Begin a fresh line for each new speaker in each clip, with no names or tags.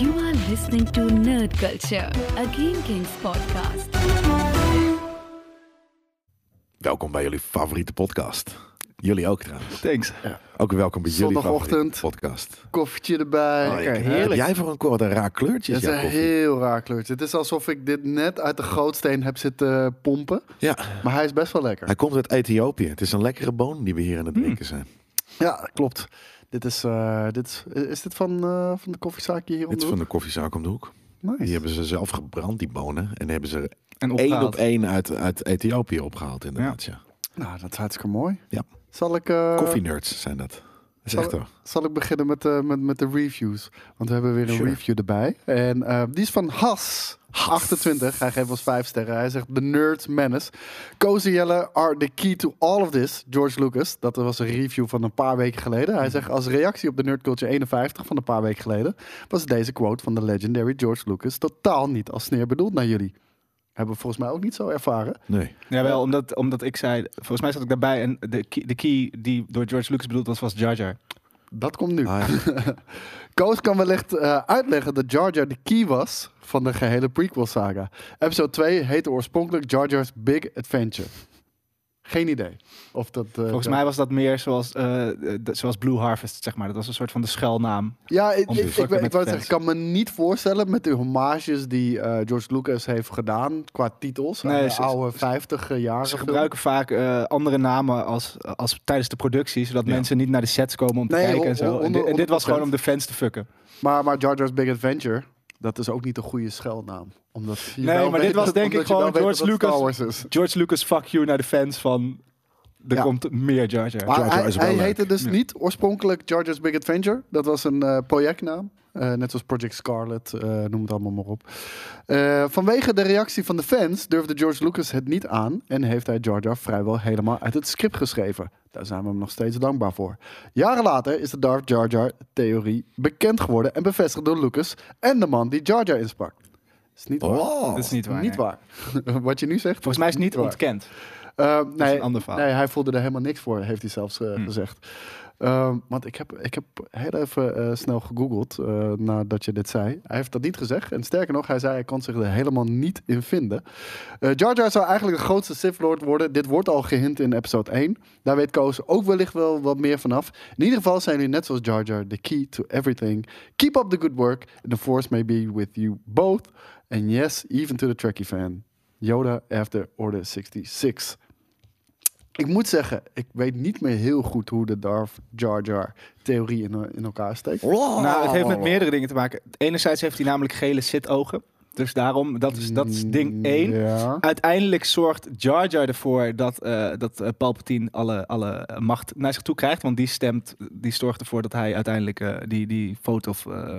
You are listening to Nerd Culture, a Game Kings podcast.
Welkom bij jullie favoriete podcast. Jullie ook trouwens.
Thanks.
Ook welkom bij jullie
Zondagochtend.
favoriete podcast.
Koffietje erbij.
Lekker, Heb
Ja,
jij voor een kor- wat een raar kleurtje
Het
is
is een
jouw koffie?
heel raar kleurtje. Het is alsof ik dit net uit de gootsteen heb zitten eh, pompen.
Ja,
Maar hij is best wel lekker.
hij komt uit Ethiopië. Het is een lekkere boon die we hier aan
Hmm.
het drinken zijn.
Ja, klopt. Dit is, eh, dit is, is dit van, eh, van de koffiezaakje hier om
Dit
de
is van
hoek?
de koffiezaak om de hoek. Die
Nice.
hebben ze zelf gebrand, die bonen. En hebben ze
En
één
opgehaald.
op één uit, uit Ethiopië opgehaald inderdaad. Ja.
Nou, dat is hartstikke mooi.
Ja.
Zal ik, eh,
Koffienerds zijn dat. Dat is
zal-
echt hoor.
zal ik beginnen met, eh, met, met de reviews? Want we hebben weer een
Sure.
review erbij. En eh, die is van Has. 28, hij geeft ons 5 sterren. Hij zegt: The Nerd Menace. Cozy Jelle are the key to all of this. George Lucas. Dat was een review van een paar weken geleden.
Mhm.
Hij zegt: Als reactie op de Nerd Culture 51 van een paar weken geleden. was deze quote van de legendary George Lucas totaal niet als sneer bedoeld naar jullie. Hebben we volgens mij ook niet zo ervaren.
Nee.
Jawel, omdat, omdat ik zei... Volgens mij zat ik daarbij en de key, de key die door George Lucas bedoeld was, was Jar Jar.
Dat komt nu.
Ah, ja.
Koos kan wellicht eh, uitleggen dat Jar Jar de key was van de gehele prequel-saga. Episode 2 heette oorspronkelijk Jar Jar's Big Adventure. Geen idee. Of dat, eh,
Volgens
dat-
mij was dat meer zoals, eh, eh, de- zoals Blue Harvest, zeg maar. Dat was een soort van de schuilnaam.
Ja, ik,
Om
ik,
te
ik,
fucken
ik
met
wou
de
zeggen, ik kan me niet voorstellen met de hommages die eh, George Lucas heeft gedaan qua titels. aan
Nee,
de
ze-
oude 50 jaren.
Ze
film.
gebruiken vaak eh, andere namen als, als tijdens de productie, zodat
Ja.
mensen niet naar de sets komen om te
Nee,
kijken
hon-
en zo.
hon-
En dit, en dit was
100%.
gewoon om de fans te fucken.
Maar, maar Jar Jar's Big Adventure, dat is ook niet een goede schelnaam. Omdat je
Nee,
wel
maar
weet
dit was
dat-
denk ik
omdat je wel
gewoon
weet dat
George
het Star
Lucas-
Wars is.
George Lucas, fuck you naar de fans van... Er
Ja.
komt meer Jar Jar.
Maar
Jar Jar
hij,
is wel
hij
leuk.
heette dus
Ja.
niet oorspronkelijk Jar Jar's Big Adventure. Dat was een eh, projectnaam. Eh, net zoals Project Scarlet, eh, noem het allemaal maar op. Eh, vanwege de reactie van de fans durfde George Lucas het niet aan en heeft hij Jar Jar vrijwel helemaal uit het script geschreven. Daar zijn we hem nog steeds dankbaar voor. Jaren later is de Darth Jar Jar theorie bekend geworden en bevestigd door Lucas en de man die Jar Jar insprak. Is niet waar.
Oh.
Dat is niet waar.
Niet
nee.
waar. Wat je nu zegt.
Volgens mij is het niet
waar.
ontkend.
Eh, nee,
een ander verhaal. Hmm.
nee, hij voelde er helemaal niks voor, heeft hij zelfs eh, gezegd. Ehm, want ik heb, ik heb heel even eh, snel gegoogeld eh, nadat je dit zei. Hij heeft dat niet gezegd. En sterker nog, hij zei hij kon zich er helemaal niet in vinden. Eh Jar Jar zou eigenlijk de grootste Sith Lord worden. Dit wordt al gehint in episode 1. Daar weet Koos ook wellicht wel wat meer vanaf. In ieder geval zijn jullie net zoals Jar Jar the key to everything. Keep up the good work. And the force may be with you both. And yes, even to the Trekkie fan. Yoda after Order 66. Ik moet zeggen, ik weet niet meer heel goed hoe de Darth Jar Jar theorie in, in elkaar steekt.
Nou, het heeft
Oh.
met meerdere dingen te maken. Enerzijds heeft hij namelijk gele zitogen. Dus daarom, dat is, dat is ding één.
Mm, Ja.
Uiteindelijk zorgt Jar Jar ervoor dat, eh, dat eh, Palpatine alle, alle eh, macht naar zich toe krijgt. Want die stemt, die zorgt ervoor dat hij uiteindelijk eh, die, die foto of eh,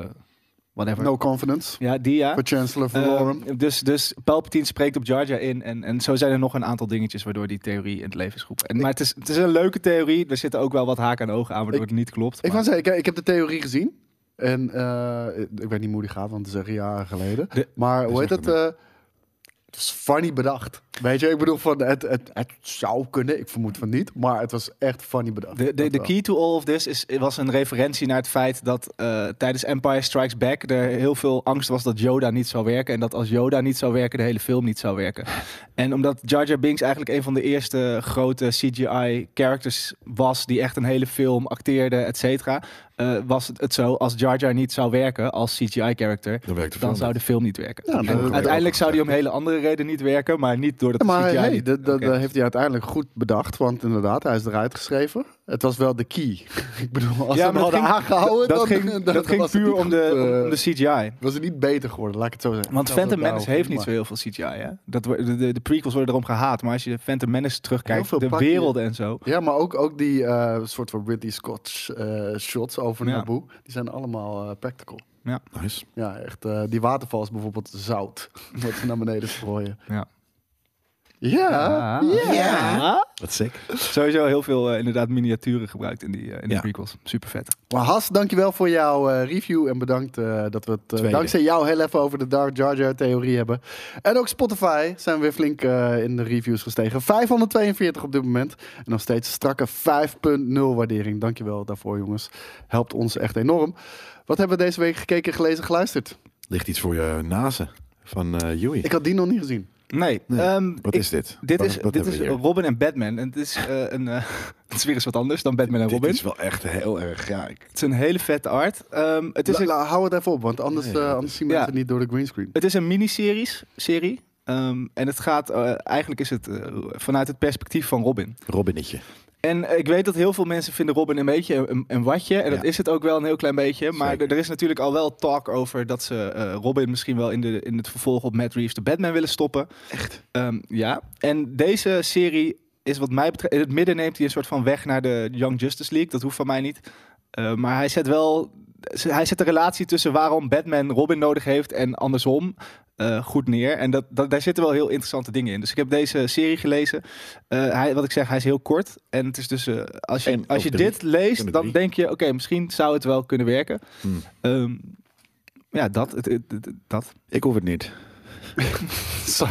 whatever.
No confidence
Ja, die ja.
voor Chancellor
Eh,
Valorum.
dus, dus Palpatine spreekt op Jar Jar in. En, en zo zijn er nog een aantal dingetjes waardoor die theorie in het leven is geroepen. En, maar het is, het is een leuke theorie. Er zitten ook wel wat haken en ogen aan waardoor
Ik-
het niet klopt.
ik
maar-
wou zeggen, ik, ik heb de theorie gezien. En eh, ik weet niet hoe die gaat, want het is echt jaren geleden.
De-
maar
is
hoe heet
echt
het? eh, het is funny bedacht. Weet je, ik bedoel, van het, het, het zou kunnen. Ik vermoed van niet. Maar het was echt funny bedacht.
De, de,
Dat
de
wel.
key to all of this is, was een referentie naar het feit dat eh, tijdens Empire Strikes Back er heel veel angst was dat Yoda niet zou werken. En dat als Yoda niet zou werken, de hele film niet zou werken. En omdat Jar Jar Binks eigenlijk een van de eerste grote CGI-characters was, die echt een hele film acteerde, et cetera, eh, was het, het zo, als Jar Jar niet zou werken als CGI-character,
Dan werkt de film
dan zou
niet.
de film niet werken.
Ja,
En
dat- dat-
uiteindelijk zou die om hele andere reden niet werken, maar niet doordat
Ja,
de
maar
CGI
hey,
niet-
dat, dat, eh,
Oké.
dat heeft hij uiteindelijk goed bedacht. Want inderdaad, hij is eruit geschreven. Het was wel de key. ik bedoel,
Ja,
als ze hem
maar dat
hadden
ging-
aangehouden...
dat
dan,
ging,
dan-
dat
dan
ging
was het
puur
niet
om de,
goed, eh,
om de CGI.
was het niet beter geworden, laat ik het zo zeggen.
Want
Dat
Phantom
was wel
Menace heeft niet zo
prima.
heel veel CGI. Hè? Dat, wo- de, de, de prequels worden erom gehaat. Maar als je Phantom Menace
Heel
terugkijkt,
veel
de
pakje.
werelden en zo.
Ja, maar ook, ook die eh, soort van Ridley Scott eh, shots over
Ja.
Naboo. Die zijn allemaal eh, practical.
Nice.
Ja, echt. eh, die waterval is bijvoorbeeld zout. wat ze naar beneden strooien.
Ja.
Ja, ja.
Wat sick.
Ah. Sowieso heel veel eh, inderdaad miniaturen gebruikt in die, eh, in de
Ja.
prequels. Super vet.
Maar Has, dankjewel voor jouw eh, review en bedankt eh, dat we het eh,
Tweede.
dankzij jou heel even over de Dark Jar Jar theorie hebben. En ook Spotify zijn we weer flink eh, in de reviews gestegen. 542 op dit moment en nog steeds strakke 5.0 waardering. Dankjewel daarvoor jongens. Helpt ons echt enorm. Wat hebben we deze week gekeken, gelezen, geluisterd?
Ligt iets voor je nazen van eh Joey.
Ik had die nog niet gezien.
Nee,
Nee.
ehm,
Wat
ik-
is dit?
Dit
Wat-
is,
wat
dit
hebben
is
we hier?
Robin en Batman. En het is, eh, een, eh, het is weer eens wat anders dan Batman en
Dit
Robin.
is wel echt heel erg. Ja, ik-
Het is een hele vette art. Ehm, het, is
La-
een,
la- hou het even op, want anders,
Nee, ja,
eh,
dat
anders zien
ja.
mensen niet door de greenscreen.
het is een miniseries. Serie. Ehm, en het gaat, eh, eigenlijk is het eh, vanuit het perspectief van Robin.
Robinnetje.
En eh, ik weet dat heel veel mensen vinden Robin een beetje een, een watje. En dat
Ja.
is het ook wel een heel klein beetje. Maar
Zeker.
er- er is natuurlijk al wel talk over dat ze eh, Robin misschien wel in, de, in het vervolg op Matt Reeves de Batman willen stoppen. Echt? Ehm, ja. En deze serie is wat mij betreft... In het midden neemt hij een soort van weg naar de Young Justice League. Dat hoeft van mij niet. Eh, maar hij zet wel... z- Hij zet de relatie tussen waarom Batman Robin nodig heeft en andersom eh, goed neer. En dat, dat, daar zitten wel heel interessante dingen in. Dus ik heb deze serie gelezen. Eh, hij, wat ik zeg, hij is heel kort. En het is dus, eh, als je,
En
als
ook
je
drie.
dit leest,
Kunnen
dan
drie.
denk je, oké, misschien zou het wel kunnen werken.
Hmm.
Ehm, ja, dat. Het, het- het- dat.
Ik hoef het niet.
Nou,
Zo.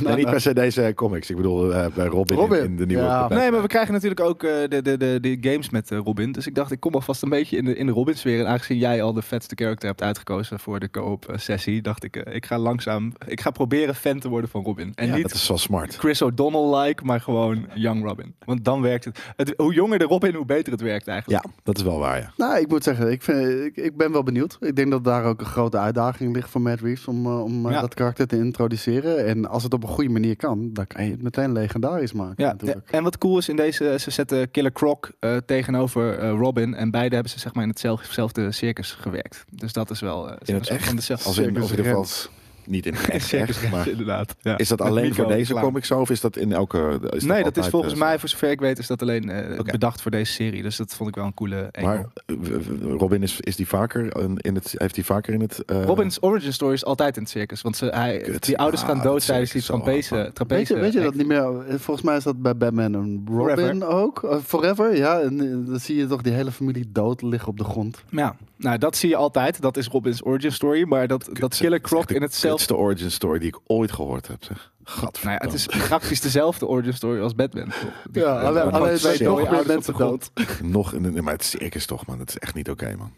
Nee, niet per se deze comics. Ik bedoel, eh, bij Robin, in-
Robin.
in de nieuwe.
Ja.
Nee, maar we krijgen natuurlijk ook eh, de, de, de, de games met eh, Robin. Dus ik dacht, ik kom alvast een beetje in de, in de Robin-sfeer. En aangezien jij al de vetste character hebt uitgekozen voor de co-op-sessie, dacht ik, eh, ik ga langzaam... Ik ga proberen fan te worden van Robin. En
Ja,
niet
dat is wel smart.
Chris O'Donnell-like, maar gewoon Young Robin. Want dan werkt het. het- Hoe jonger de Robin, hoe beter het werkt eigenlijk.
Ja, dat is wel waar. Ja.
Nou, ik moet zeggen, ik, vind, ik, ik ben wel benieuwd. Ik denk dat daar ook een grote uitdaging ligt voor Matt Reeves om, eh, om eh,
Ja.
dat karakter te introduceren. En als het op een goede manier kan, dan kan je het meteen legendarisch maken.
Ja,
natuurlijk.
en wat cool is in deze, ze zetten Killer Croc eh, tegenover eh, Robin. En beide hebben ze zeg maar in hetzelfde hetzelfde circus gewerkt. Dus dat is wel... eh, ze
In het
hebben
echt?
Van dezelfde
Als in,
circus-
of in ieder geval niet in echt,
circus-
echt, maar
inderdaad. ja.
is dat
Met
alleen
Nico
voor deze
Clown.
comic zo of is dat in elke? is
nee, dat
altijd,
is volgens
eh,
mij, voor zover ik weet, is dat alleen eh,
Oké.
bedacht voor deze serie. Dus dat vond ik wel een coole... angle.
Maar eh, w- w- Robin is, is die vaker in- in het heeft die vaker in het. eh,
Robin's origin story is altijd in het circus. Want ze, hij,
Kut.
die ouders
Ah,
gaan
dat
dood
is
tijdens die
zo hard,
trapeze.
Weet je,
trapeze
weet je dat niet meer? Eh, Volgens mij is dat bij Batman en Robin
Forever.
ook. Eh, forever, ja. En eh, dan zie je toch die hele familie dood liggen op de grond.
Ja, nou dat zie je altijd. Dat is Robin's origin story. Maar dat, dat
zeg,
Killer
dat is echt
Croc
de
in hetzelfde...
kutste origin story die ik ooit gehoord heb. Zeg.
Nou
Gadverdamme.
ja, het is praktisch dezelfde origin story als Batman. toch? Die-
Ja, alleen,
gewoon
alleen
shit.
zijn
Mooie
nog meer
ouders op de
mensen
grond.
dood.
nog een- nee, maar het circus toch man, dat is echt niet oké man.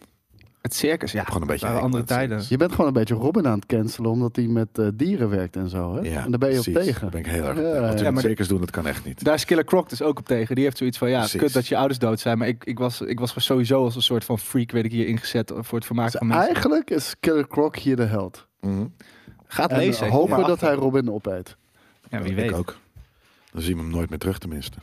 Het circus, ja.
Gewoon een beetje
waren
hekel
andere
aan het
tijden.
Je bent gewoon een beetje Robin aan het cancelen, omdat hij met eh, dieren werkt en zo. Hè? en daar ben je op
precies.
tegen.
Daar ben ik heel erg op
Ja,
tegen. Wat
ja,
we
ja.
in het circus doen, dat kan echt niet.
Daar is Killer Croc dus ook op tegen. Die heeft zoiets van, ja,
Precies.
kut dat je ouders dood zijn. Maar ik, ik, was, ik was sowieso als een soort van freak, werd ik hier ingezet voor het vermaak
Dus
van mensen.
eigenlijk is Killer Croc hier de held.
Mhm.
Gaat
En
lezen. kom
hopen
maar
dat
achter.
hij Robin opeet.
Ja, wie
ik
weet.
ook. Dan zien we hem nooit meer terug tenminste.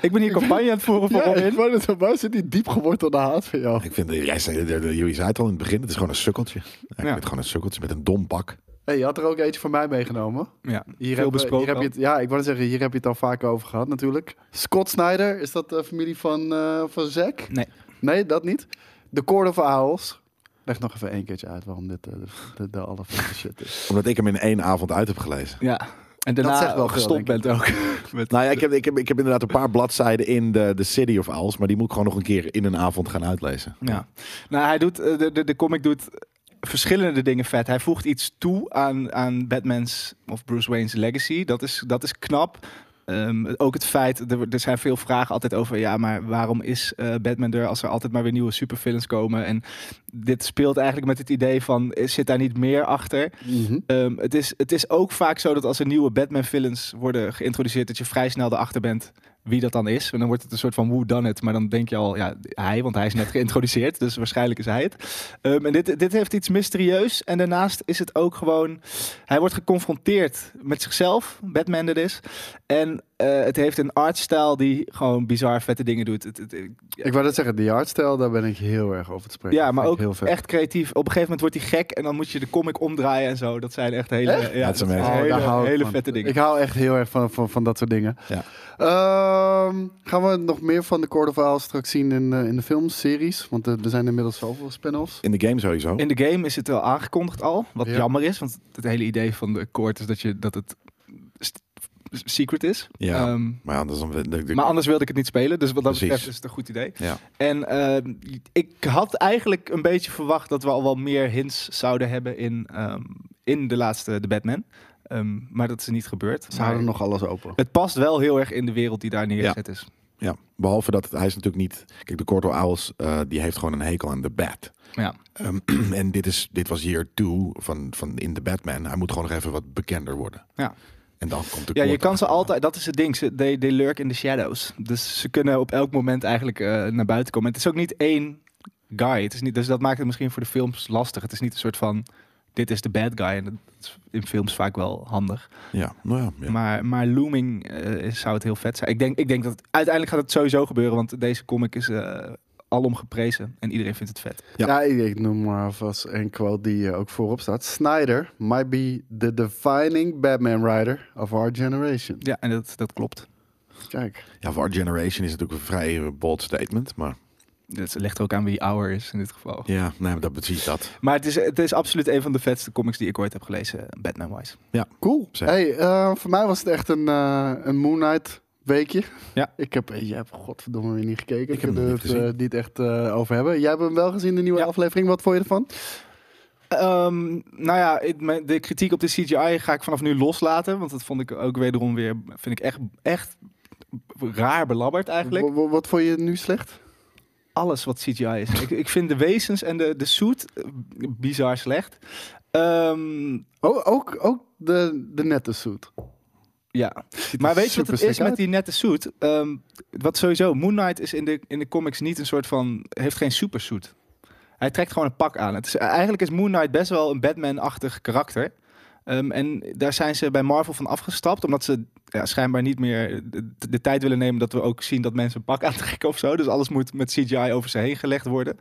Ik ben hier campagne aan het voeren voor
Ja,
Robin.
ik wou net zeggen, waar zit die diep gewortelde haat van jou?
Ik vind, eh, jij zei, de- de- jullie zei het al in het begin, het is gewoon een sukkeltje. Ja, Ik vind
Ja.
het gewoon een sukkeltje met een dom bak.
Hey, je had er ook eentje van mij meegenomen.
Ja,
Hier
veel
hebben-
besproken.
Hier heb je het, ja, ik wou net zeggen, hier heb je het al vaker over gehad natuurlijk. Scott Snyder, is dat de familie van, eh van Zack?
Nee.
Nee, dat niet. The Court of Owls. Leg nog even één keertje uit waarom dit eh, de, de, de allervetste shit is.
Omdat ik hem in één avond uit heb gelezen.
Ja. En daarna
zegt wel veel,
gestopt
denk
bent ook. Met
Nou ja, ik heb, ik, heb, ik heb inderdaad een paar bladzijden in de, de City of Owls, maar die moet ik gewoon nog een keer in een avond gaan uitlezen.
Ja. Nou, hij doet, eh, de, de, de comic doet verschillende dingen vet. Hij voegt iets toe aan, aan Batman's of Bruce Wayne's legacy. Dat is, dat is knap. Ehm, ook het feit, er, er zijn veel vragen altijd over... ja, maar waarom is eh, Batman er als er altijd maar weer nieuwe superfilms komen? En dit speelt eigenlijk met het idee van, eh, zit daar niet meer achter? Ehm, het, is, het is ook vaak zo dat als er nieuwe Batman-villains worden geïntroduceerd, dat je vrij snel erachter bent wie dat dan is. En dan wordt het een soort van who done it. Maar dan denk je al, ja, hij, want hij is net geïntroduceerd. Dus waarschijnlijk is hij het. Ehm, en dit, dit heeft iets mysterieus. En daarnaast is het ook gewoon. Hij wordt geconfronteerd met zichzelf, Batman dit is. En eh, het heeft een artstijl die gewoon bizar vette dingen doet. Het, het- het-
Ik wou dat zeggen, die hardstyle, daar ben ik heel erg over te spreken.
ja,
Dat
maar
vind
ook
ik heel vet.
echt creatief. Op een gegeven moment wordt hij gek en dan moet je de comic omdraaien en zo. Dat zijn echt hele, Ja,
Dat is amazing.
zijn
Oh,
hele,
daar hou ik
hele
van.
vette dingen.
Ik hou echt heel erg van, van, van dat soort dingen.
Ja.
Ehm, gaan we nog meer van de Court of Owls straks zien in, eh, in de filmseries? Want eh, er zijn inmiddels zoveel spin-offs.
In de game sowieso.
In de game is het wel aangekondigd al, wat
Ja.
jammer is, want het hele idee van de court is dat, je, dat het st- secret is.
Ja.
Ehm,
maar ja, dat is dan... de- de- de-
maar anders wilde ik het niet spelen, dus wat dat
Precies.
betreft is het een goed idee.
ja.
En ehm, ik had eigenlijk een beetje verwacht dat we al wel meer hints zouden hebben in, ehm, in de laatste de Batman. Ehm, maar dat is niet gebeurd.
Ze houden
Maar
nog alles open.
Het past wel heel erg in de wereld die daar neergezet is.
ja. Behalve dat het- hij is natuurlijk niet... Kijk, de Corto Owls, eh, die heeft gewoon een hekel aan de bat.
Ja.
Ehm, en dit, is, dit was year two van, van in de Batman. Hij moet gewoon nog even wat bekender worden.
Ja.
En dan komt de
Ja, je
Court
kan ze
achter.
altijd, dat is het ding, ze they, they lurk in the shadows. Dus ze kunnen op elk moment eigenlijk eh, naar buiten komen. Het is ook niet één guy, het is niet, dus dat maakt het misschien voor de films lastig. Het is niet een soort van, dit is de bad guy. En dat is in films vaak wel handig.
Ja, nou ja. ja.
Maar, maar looming eh, zou het heel vet zijn. Ik denk, ik denk dat het- uiteindelijk gaat het sowieso gebeuren, want deze comic is eh alom geprezen. En iedereen vindt het vet.
Ja.
Ja, ik, ik noem maar vast een quote die eh, ook voorop staat. Snyder might be the defining Batman writer of our generation.
Ja, en dat, dat klopt.
Kijk,
ja, voor Our Generation is natuurlijk een vrij bold statement. Maar
Dat ligt er ook aan wie ouder is in dit geval.
ja, nee, maar dat precies dat.
Maar het is, het is absoluut een van de vetste comics die ik ooit heb gelezen, Batman-wise.
cool.
Zeg.
Hey, eh, voor mij was het echt een, eh, een Moon Knight weekje.
Ja.
Ik heb, eh, jij hebt godverdomme weer niet gekeken.
Ik heb hem
wil
nog
het
niet
eh, niet echt eh, over hebben. Jij hebt hem wel gezien, de nieuwe
Ja.
aflevering. Wat vond je ervan?
Ehm, nou ja, ik- mijn- de kritiek op de CGI ga ik vanaf nu loslaten. Want dat vond ik ook wederom weer, vind ik echt, echt raar belabberd eigenlijk.
Wa- wa- Wat vond je nu slecht?
Alles wat CGI is. ik, ik vind de wezens en de, de suit eh, bizar slecht. Ehm,
Oh, ook, ook de, de nette suit.
ja,
Ziet
maar
er
weet je wat het
super
is
sick
met
uit.
die nette suit? Ehm, wat sowieso, Moon Knight is in de, in de comics niet een soort van, heeft geen supersuit. Hij trekt gewoon een pak aan. Het is, eigenlijk is Moon Knight best wel een Batman-achtig karakter. Ehm, en daar zijn ze bij Marvel van afgestapt, omdat ze ja, schijnbaar niet meer de, de tijd willen nemen dat we ook zien dat mensen een pak aantrekken of zo. Dus alles moet met CGI over ze heen gelegd worden.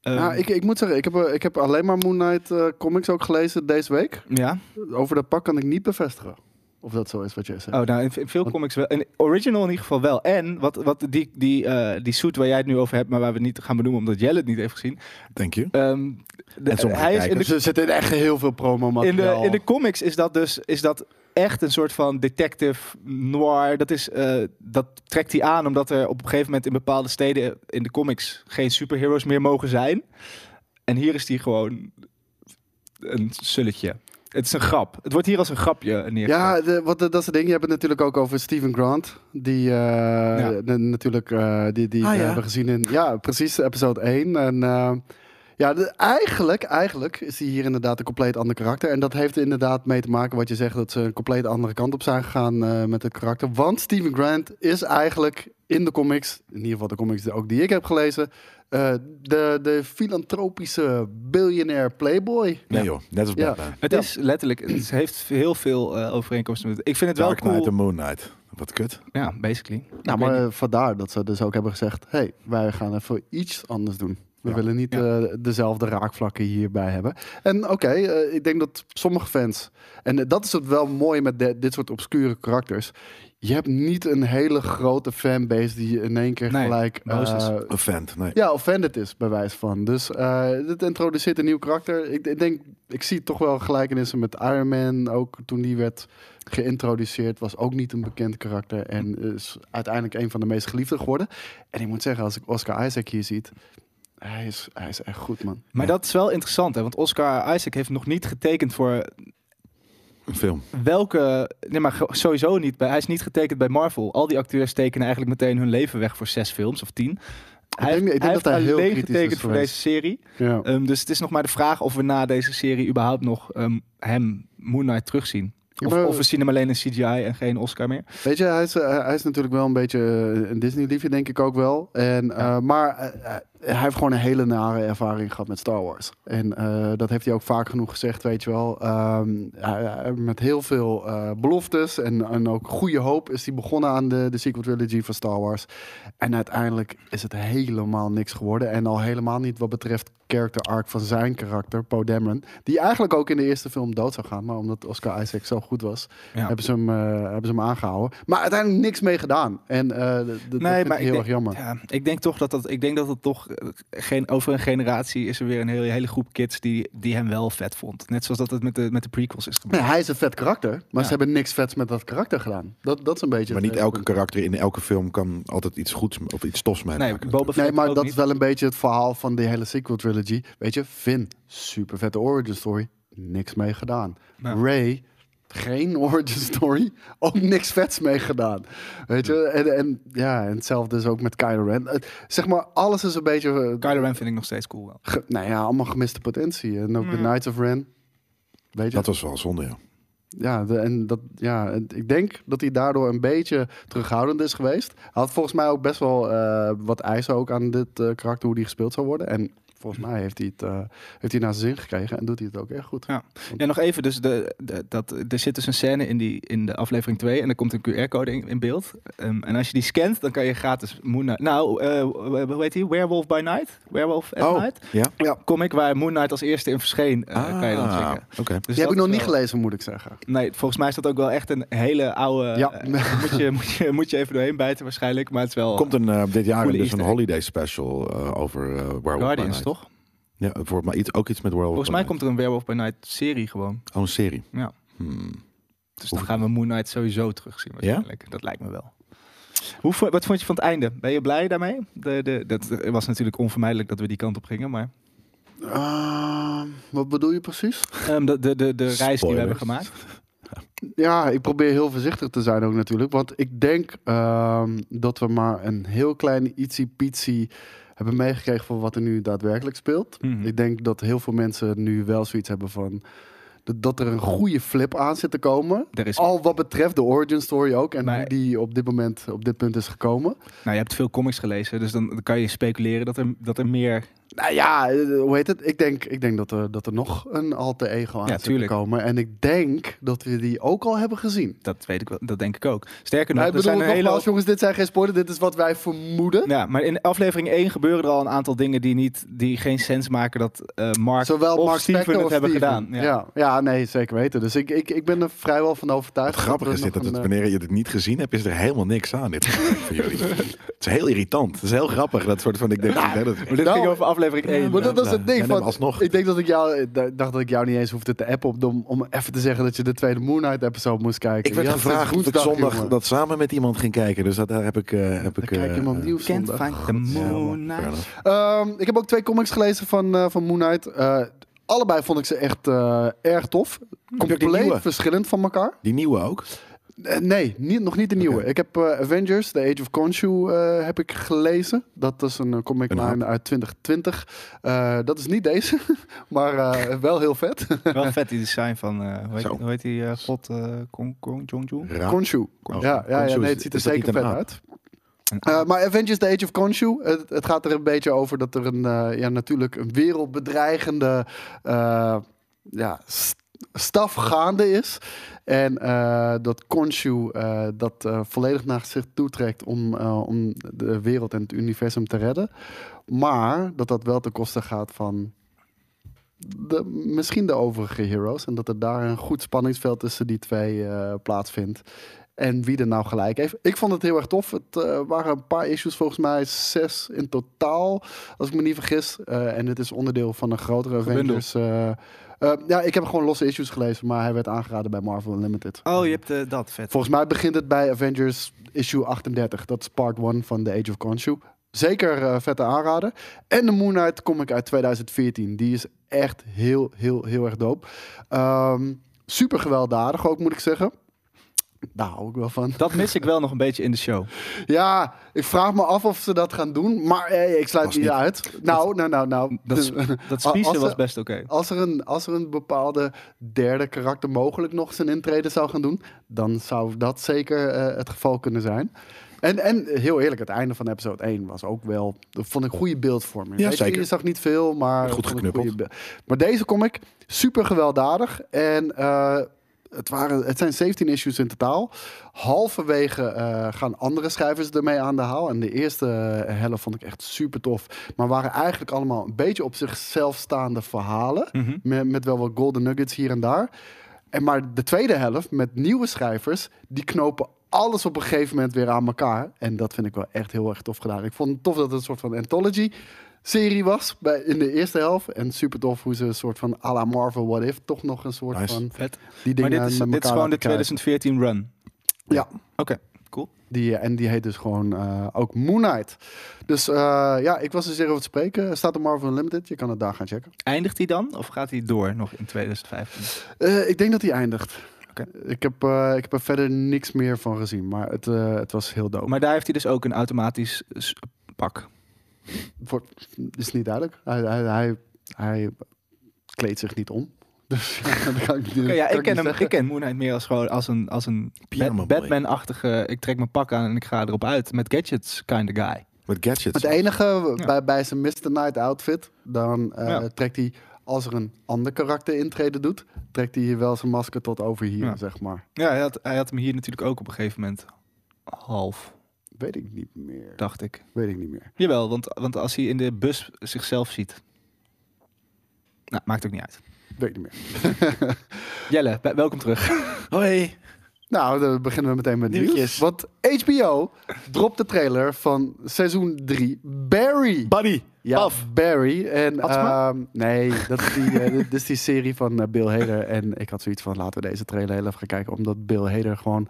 Ehm,
Nou, ik, ik moet zeggen, ik heb, eh, ik heb alleen maar Moon Knight eh, comics ook gelezen deze week.
ja.
Over dat pak kan ik niet bevestigen. Of dat zo is wat jij zegt.
Oh, nou, in, in veel comics wel. In original in ieder geval wel. En wat, wat die, die, eh, die suit waar jij het nu over hebt, maar waar we het niet gaan benoemen omdat Jelle het niet heeft gezien.
Thank you.
Ehm, de-
En sommige
hij is in
kijkers.
de,
er zit echt heel veel promo
in, de, in de comics is dat dus is dat echt een soort van detective noir. Dat, is, eh, dat trekt hij aan omdat er op een gegeven moment in bepaalde steden in de comics geen superheroes meer mogen zijn. En hier is hij gewoon een sulletje. Het is een grap. Het wordt hier als een grapje neergezet.
Ja, de, wat, dat is het ding. Je hebt het natuurlijk ook over Steven Grant. Die eh, de- natuurlijk, eh, die, die
Ah,
we
ja.
hebben gezien in, ja, precies, episode 1. En eh, ja, de- eigenlijk, eigenlijk is hij hier inderdaad een compleet ander karakter. En dat heeft er inderdaad mee te maken wat je zegt, dat ze een compleet andere kant op zijn gegaan eh, met het karakter. Want Steven Grant is eigenlijk in de comics, in ieder geval de comics ook die ik heb gelezen, eh, de, de filantropische biljonair playboy.
Nee joh, net als
Ja.
Batman.
Het
Ja.
is letterlijk, het is- heeft heel veel eh, overeenkomsten met. Ik vind het wel
Dark Knight
cool.
en Moon Knight. Wat kut.
Ja, basically.
Nou,
Ik weet
maar eh, vandaar dat ze dus ook hebben gezegd: hey, wij gaan even iets anders doen. We
Ja.
willen niet
Ja.
eh, dezelfde raakvlakken hierbij hebben. En oké, eh, ik denk dat sommige fans. En eh, dat is het wel mooi met de- dit soort obscure karakters. Je hebt niet een hele grote fanbase die in één keer
Nee,
gelijk.
boos is.
eh,
Een vent, nee.
ja, offended is, bij wijze van. Dus eh, dit introduceert een nieuw karakter. Ik, ik denk, ik zie toch wel gelijkenissen met Iron Man. Ook toen die werd geïntroduceerd, was ook niet een bekend karakter. En is uiteindelijk een van de meest geliefden geworden. En ik moet zeggen, als ik Oscar Isaac hier ziet, hij is, hij is echt goed, man.
Maar
Ja.
dat is wel interessant, hè? want Oscar Isaac heeft nog niet getekend voor
Een film.
welke. Nee, maar ge- sowieso niet. bij- Hij is niet getekend bij Marvel. Al die acteurs tekenen eigenlijk meteen hun leven weg voor zes films of tien. Hij,
denk- ik
heeft-
denk
hij
dat
heeft
hij heel
alleen
kritisch is
getekend voor
geweest.
deze serie.
Ja.
Ehm, dus het is nog maar de vraag of we na deze serie überhaupt nog ehm, hem Moon Knight terugzien.
Ja,
Of,
maar-
of we zien hem alleen in CGI en geen Oscar meer.
Weet je, hij is, eh, hij is natuurlijk wel een beetje eh, een Disney-liefje, denk ik ook wel. En, eh, maar eh, eh, hij heeft gewoon een hele nare ervaring gehad met Star Wars. En eh, dat heeft hij ook vaak genoeg gezegd, weet je wel. Ehm, hij- hij- met heel veel eh, beloftes en, en ook goede hoop is hij begonnen aan de, de sequel trilogy van Star Wars. En uiteindelijk is het helemaal niks geworden. En al helemaal niet wat betreft character arc van zijn karakter, Poe Dameron. Die eigenlijk ook in de eerste film dood zou gaan. Maar omdat Oscar Isaac zo goed was,
Ja.
hebben, ze hem, eh, hebben ze hem aangehouden. Maar uiteindelijk niks mee gedaan. En eh dat- dat vind ik heel
ik
erg
denk-
jammer.
Ja, ik denk toch dat dat, ik denk dat het toch eh, geen, over een generatie is er weer een hele, hele groep kids die, die hem wel vet vond. Net zoals dat het met de, met de prequels is gebeurd.
Nee, hij is een vet karakter, maar
Ja.
ze hebben niks vets met dat karakter gedaan. Dat, dat is een beetje.
Maar
het,
niet
eh,
elke
punt.
karakter in elke film kan altijd iets goeds m- of iets tofs mee
Nee,
maken.
Boba Fett
Nee, maar
ook
dat
niet.
is wel een beetje het verhaal van die hele sequel trilogy. Weet je, Finn, super vette origin story, niks mee gedaan.
Ja.
Ray, geen origin story, ook niks vets mee gedaan. Weet je, en, en ja, en hetzelfde is ook met Kylo Ren. Het- Zeg maar, alles is een beetje. eh,
Kylo Ren vind ik nog steeds cool wel.
ge- nou ja, allemaal gemiste potentie. En ook de Knights of Ren. Weet je,
Dat was wel zonde, ja.
Ja, de- en dat, ja, en ik denk dat hij daardoor een beetje terughoudend is geweest. Hij had volgens mij ook best wel eh, wat eisen ook aan dit eh, karakter, hoe die gespeeld zou worden. En volgens mij heeft hij het eh, heeft hij naar zijn zin gekregen en doet hij het ook echt goed.
Ja. ja, nog even. Dus de, de- dat, er zit dus een scène in, die, in de aflevering 2 en er komt een QR-code in, in beeld. Ehm, en als je die scant, dan kan je gratis Moon Knight... Nou, eh, hoe heet die? Werewolf by Night? Werewolf at
Oh,
Night?
ja?
Ja, comic waar Moon Knight als eerste in verscheen, eh, kan je dan
Ah,
checken.
Oké.
Dus
die heb
dat
ik nog
is
niet
wel-
gelezen, moet ik zeggen.
Nee, volgens mij is dat ook wel echt een hele oude...
Ja.
eh, moet, je, moet, je, moet je even doorheen bijten waarschijnlijk, maar het is wel...
Komt een, eh, dit jaar
Coole
dus
easter
een
egg.
holiday special eh, over eh Werewolf by
Guardians,
Night.
toch?
Ja, eh, voor, maar iets, ook iets met Werewolf
Volgens mij komt er een Werewolf by Night serie gewoon.
Oh, een serie.
Ja.
Hmm.
Dus dan gaan we Moon Knight sowieso terugzien waarschijnlijk. Dat lijkt me wel. Hoe, vo- wat vond je van het einde? Ben je blij daarmee? De, de, dat was natuurlijk onvermijdelijk dat we die kant op gingen, maar
Ehm, wat bedoel je precies?
ehm, de, de, de, de reis die
Spoilers.
we hebben gemaakt.
Ja, ik probeer heel voorzichtig te zijn ook natuurlijk. Want ik denk ehm, dat we maar een heel klein ietsie-pietsie hebben meegekregen van wat er nu daadwerkelijk speelt.
Mhm.
Ik denk dat heel veel mensen nu wel zoiets hebben van... dat, dat er een goede flip aan zit te komen.
Er is,
Al wat betreft de origin story ook. En
Maar-
hoe die op dit moment op dit punt is gekomen.
nou, je hebt veel comics gelezen, dus dan, dan kan je speculeren dat er, dat er meer...
Nou ja, eh, hoe heet het? Ik denk, ik denk dat, er, dat er nog een alter ego aan
Ja,
zit
tuurlijk.
te komen. En ik denk dat we die ook al hebben gezien.
Dat weet ik wel, dat denk ik ook. Sterker nog,
Maar Nou, ik
Nou, er
bedoel,
zijn een hele...
nogmaals, jongens, dit zijn geen spoilers. Dit is wat wij vermoeden.
Ja, maar in aflevering 1 gebeuren er al een aantal dingen die, niet, die geen sens maken dat eh, Mark
Zowel
of
Mark
Steven
Spector
het
of
hebben
Steven.
gedaan.
Ja. Ja, nee, zeker weten. Dus ik, ik, ik ben er vrijwel van overtuigd.
Het grappige
dat
is
we
dit, dat
nog
het,
een, eh,
wanneer je het niet gezien hebt, is er helemaal niks aan dit voor jullie. Het is heel irritant. Het is heel grappig. Dat soort van, ik denk, ja, dat,
Maar dit
Nou,
ging over aflevering 1.
Maar dat was het
Ja,
ding.
nee,
Van,
maar alsnog.
Ik denk dat ik jou, ik dacht dat ik jou niet eens hoefde te appen op- om, om even te zeggen dat je de tweede Moon Knight episode moest kijken.
ik werd
Ja,
gevraagd of ik
woensdag,
zondag
jongen.
dat samen met iemand ging kijken. Dus dat, daar heb ik... eh, heb
Dan
ik
kijk je
eh,
hem opnieuw
Can't
zondag.
find the moon
fair
night.
enough.
Ehm, ik heb ook twee comics gelezen van, eh, van Moon Knight. Eh, allebei vond ik ze echt eh, erg tof.
je ook die
Compleet
nieuwe?
verschillend van elkaar.
Die nieuwe ook?
Eh, nee, niet, nog niet de nieuwe.
Oké.
Ik heb eh, Avengers, The Age of Khonshu eh, heb ik gelezen. Dat is een eh, comic
Een hap.
line uit 2020. Eh, dat is niet deze, maar eh, wel heel vet.
Wel vet die design van, eh, hoe, heet,
Zo.
hoe heet die eh, god, eh, Kong, Kong, Jongju?
Raar.
Khonshu.
Khonshu.
Ja, ja, ja,
Oh, Khonshu,
nee,
is-
het ziet er
is dat
zeker
niet
vet
een aap?
uit. Eh, maar Avengers The Age of Khonshu, het, het gaat er een beetje over dat er een, eh, ja, natuurlijk een wereldbedreigende eh, ja, s- staf gaande is. En eh, dat Khonshu eh, dat eh, volledig naar zich toetrekt om, eh, om de wereld en het universum te redden. Maar dat dat wel ten koste gaat van de, misschien de overige heroes. En dat er daar een goed spanningsveld tussen die twee eh, plaatsvindt. En wie er nou gelijk heeft. Ik vond het heel erg tof. Het eh, waren een paar issues, volgens mij zes in totaal. Als ik me niet vergis. Eh, en het is onderdeel van een grotere
Gebundeld.
Avengers. eh, eh, ja, ik heb gewoon losse issues gelezen. Maar hij werd aangeraden bij Marvel Unlimited.
Oh, je hebt eh, dat, vet.
Volgens mij begint het bij Avengers issue 38. Dat is part 1 van The Age of Khonshu. Zeker eh, vette aanrader. En de Moon Knight kom ik uit 2014. Die is echt heel, heel, heel erg dope. Ehm, super gewelddadig ook, moet ik zeggen. Daar hou ik wel van.
Dat mis ik wel nog een beetje in de show.
Ja, ik vraag me af of ze dat gaan doen. Maar eh, ik sluit
Was
niet
niet.
uit. Nou, nou, nou, nou.
Dat, sp- dat spiezen
Als ze-
was best oké.
Als er, een, als er een bepaalde derde karakter mogelijk nog zijn intrede zou gaan doen, dan zou dat zeker eh, het geval kunnen zijn. En, en heel eerlijk, het einde van episode 1 was ook wel... Dat vond ik goede beeldvorming.
Ja,
Weet je,
zeker.
Je zag niet veel, maar...
Goed
vond ik
geknuppeld.
goede be- maar deze comic, super gewelddadig. En eh, het, waren, het zijn 17 issues in totaal. Halverwege eh, gaan andere schrijvers ermee aan de haal. En de eerste eh, helft vond ik echt super tof. Maar waren eigenlijk allemaal een beetje op zichzelf staande verhalen.
Mhm.
met, met wel wat golden nuggets hier en daar. En maar de tweede helft met nieuwe schrijvers, die knopen alles op een gegeven moment weer aan elkaar. En dat vind ik wel echt heel erg tof gedaan. Ik vond het tof dat het een soort van anthology serie was bij, in de eerste helft. En super tof hoe ze een soort van à la Marvel What If toch nog een soort
Nice.
van
Vet.
die
Maar
dingen
dit is,
met
dit is
elkaar
gewoon de
laten kijken.
2014 run.
Ja,
Oké, cool.
die, eh, en die heet dus gewoon eh, ook Moon Knight. Dus eh, ja, ik was er zeer over te spreken. Er Staat op Marvel Unlimited, je kan het daar gaan checken.
Eindigt hij dan of gaat hij door nog in 2015?
Eh, ik denk dat die eindigt.
Oké.
Ik, heb, eh, ik heb er verder niks meer van gezien, maar het, eh, het was heel dope.
Maar daar heeft hij dus ook een automatisch eh, s- pak.
Voor- is niet duidelijk. Hij, hij, hij, hij kleedt zich niet om. Dus ja, dat kan ik,
Oké, ja, ik
niet
ken, hem,
zeggen.
ik ken Moon Knight meer als, gewoon als een, als een
Pyjama boy.
Bat- Batman-achtige... Ik trek mijn pak aan en ik ga erop uit. Met gadgets kind of guy.
Met gadgets.
Het enige
Ja.
bij, bij zijn Mr. Night outfit, dan eh,
Ja.
trekt hij, als er een ander karakter intreden doet, trekt hij hier wel zijn masker tot over hier,
Ja.
zeg maar.
Ja, hij had, hij had hem hier natuurlijk ook op een gegeven moment half,
Weet ik niet meer.
dacht ik.
Weet ik niet meer.
Jawel, want, want als hij in de bus zichzelf ziet... Nou, maakt ook niet uit.
Weet ik niet meer.
Jelle, bij- welkom terug.
Hoi.
Nou, dan beginnen we meteen met nieuws.
Nieuwtjes.
Want HBO dropt de trailer van seizoen 3 Barry.
Buddy.
Ja,
Paf.
Barry. En,
Atma?
ehm, nee, dat is, die, eh, dit is die serie van eh, Bill Hader. En ik had zoiets van, laten we deze trailer heel even gaan kijken. Omdat Bill Hader gewoon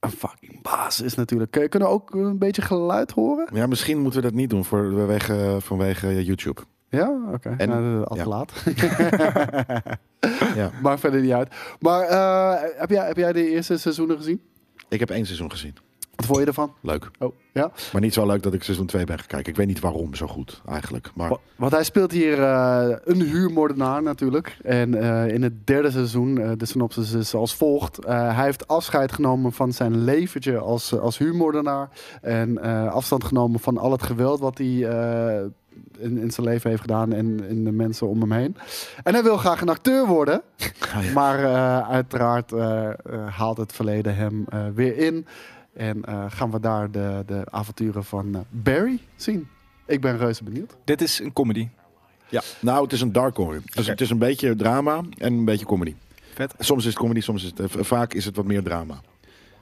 een fucking baas is natuurlijk. Kun- Kunnen we ook een beetje geluid horen?
Ja, misschien moeten we dat niet doen voor, vanwege, eh, vanwege eh, YouTube.
Ja, oké.
En-
Nou, eh, al te
ja.
laat.
Ja.
Maakt verder niet uit. Maar eh, heb, jij, heb jij de eerste seizoenen gezien?
Ik heb één seizoen gezien.
Wat vond je ervan?
Leuk.
Oh, ja.
Maar niet zo leuk dat ik seizoen 2 ben gaan kijken. Ik weet niet waarom zo goed eigenlijk. Maar
Wa- Want hij speelt hier eh, een huurmoordenaar natuurlijk. En eh, in het derde seizoen, eh, de synopsis is als volgt. Eh, hij heeft afscheid genomen van zijn leventje als, eh, als huurmoordenaar. En eh, afstand genomen van al het geweld wat hij eh, in, in zijn leven heeft gedaan en in de mensen om hem heen. En hij wil graag een acteur worden.
Ah, ja.
Maar eh, uiteraard eh, eh, haalt het verleden hem eh, weer in. En eh, gaan we daar de, de avonturen van eh, Barry zien. Ik ben reuze benieuwd.
Dit is een comedy.
ja. Nou, het is een dark comedy. Dus
Oké.
het is een beetje drama en een beetje comedy.
Vet.
Soms is het comedy, soms is het, eh, v- vaak is het wat meer drama.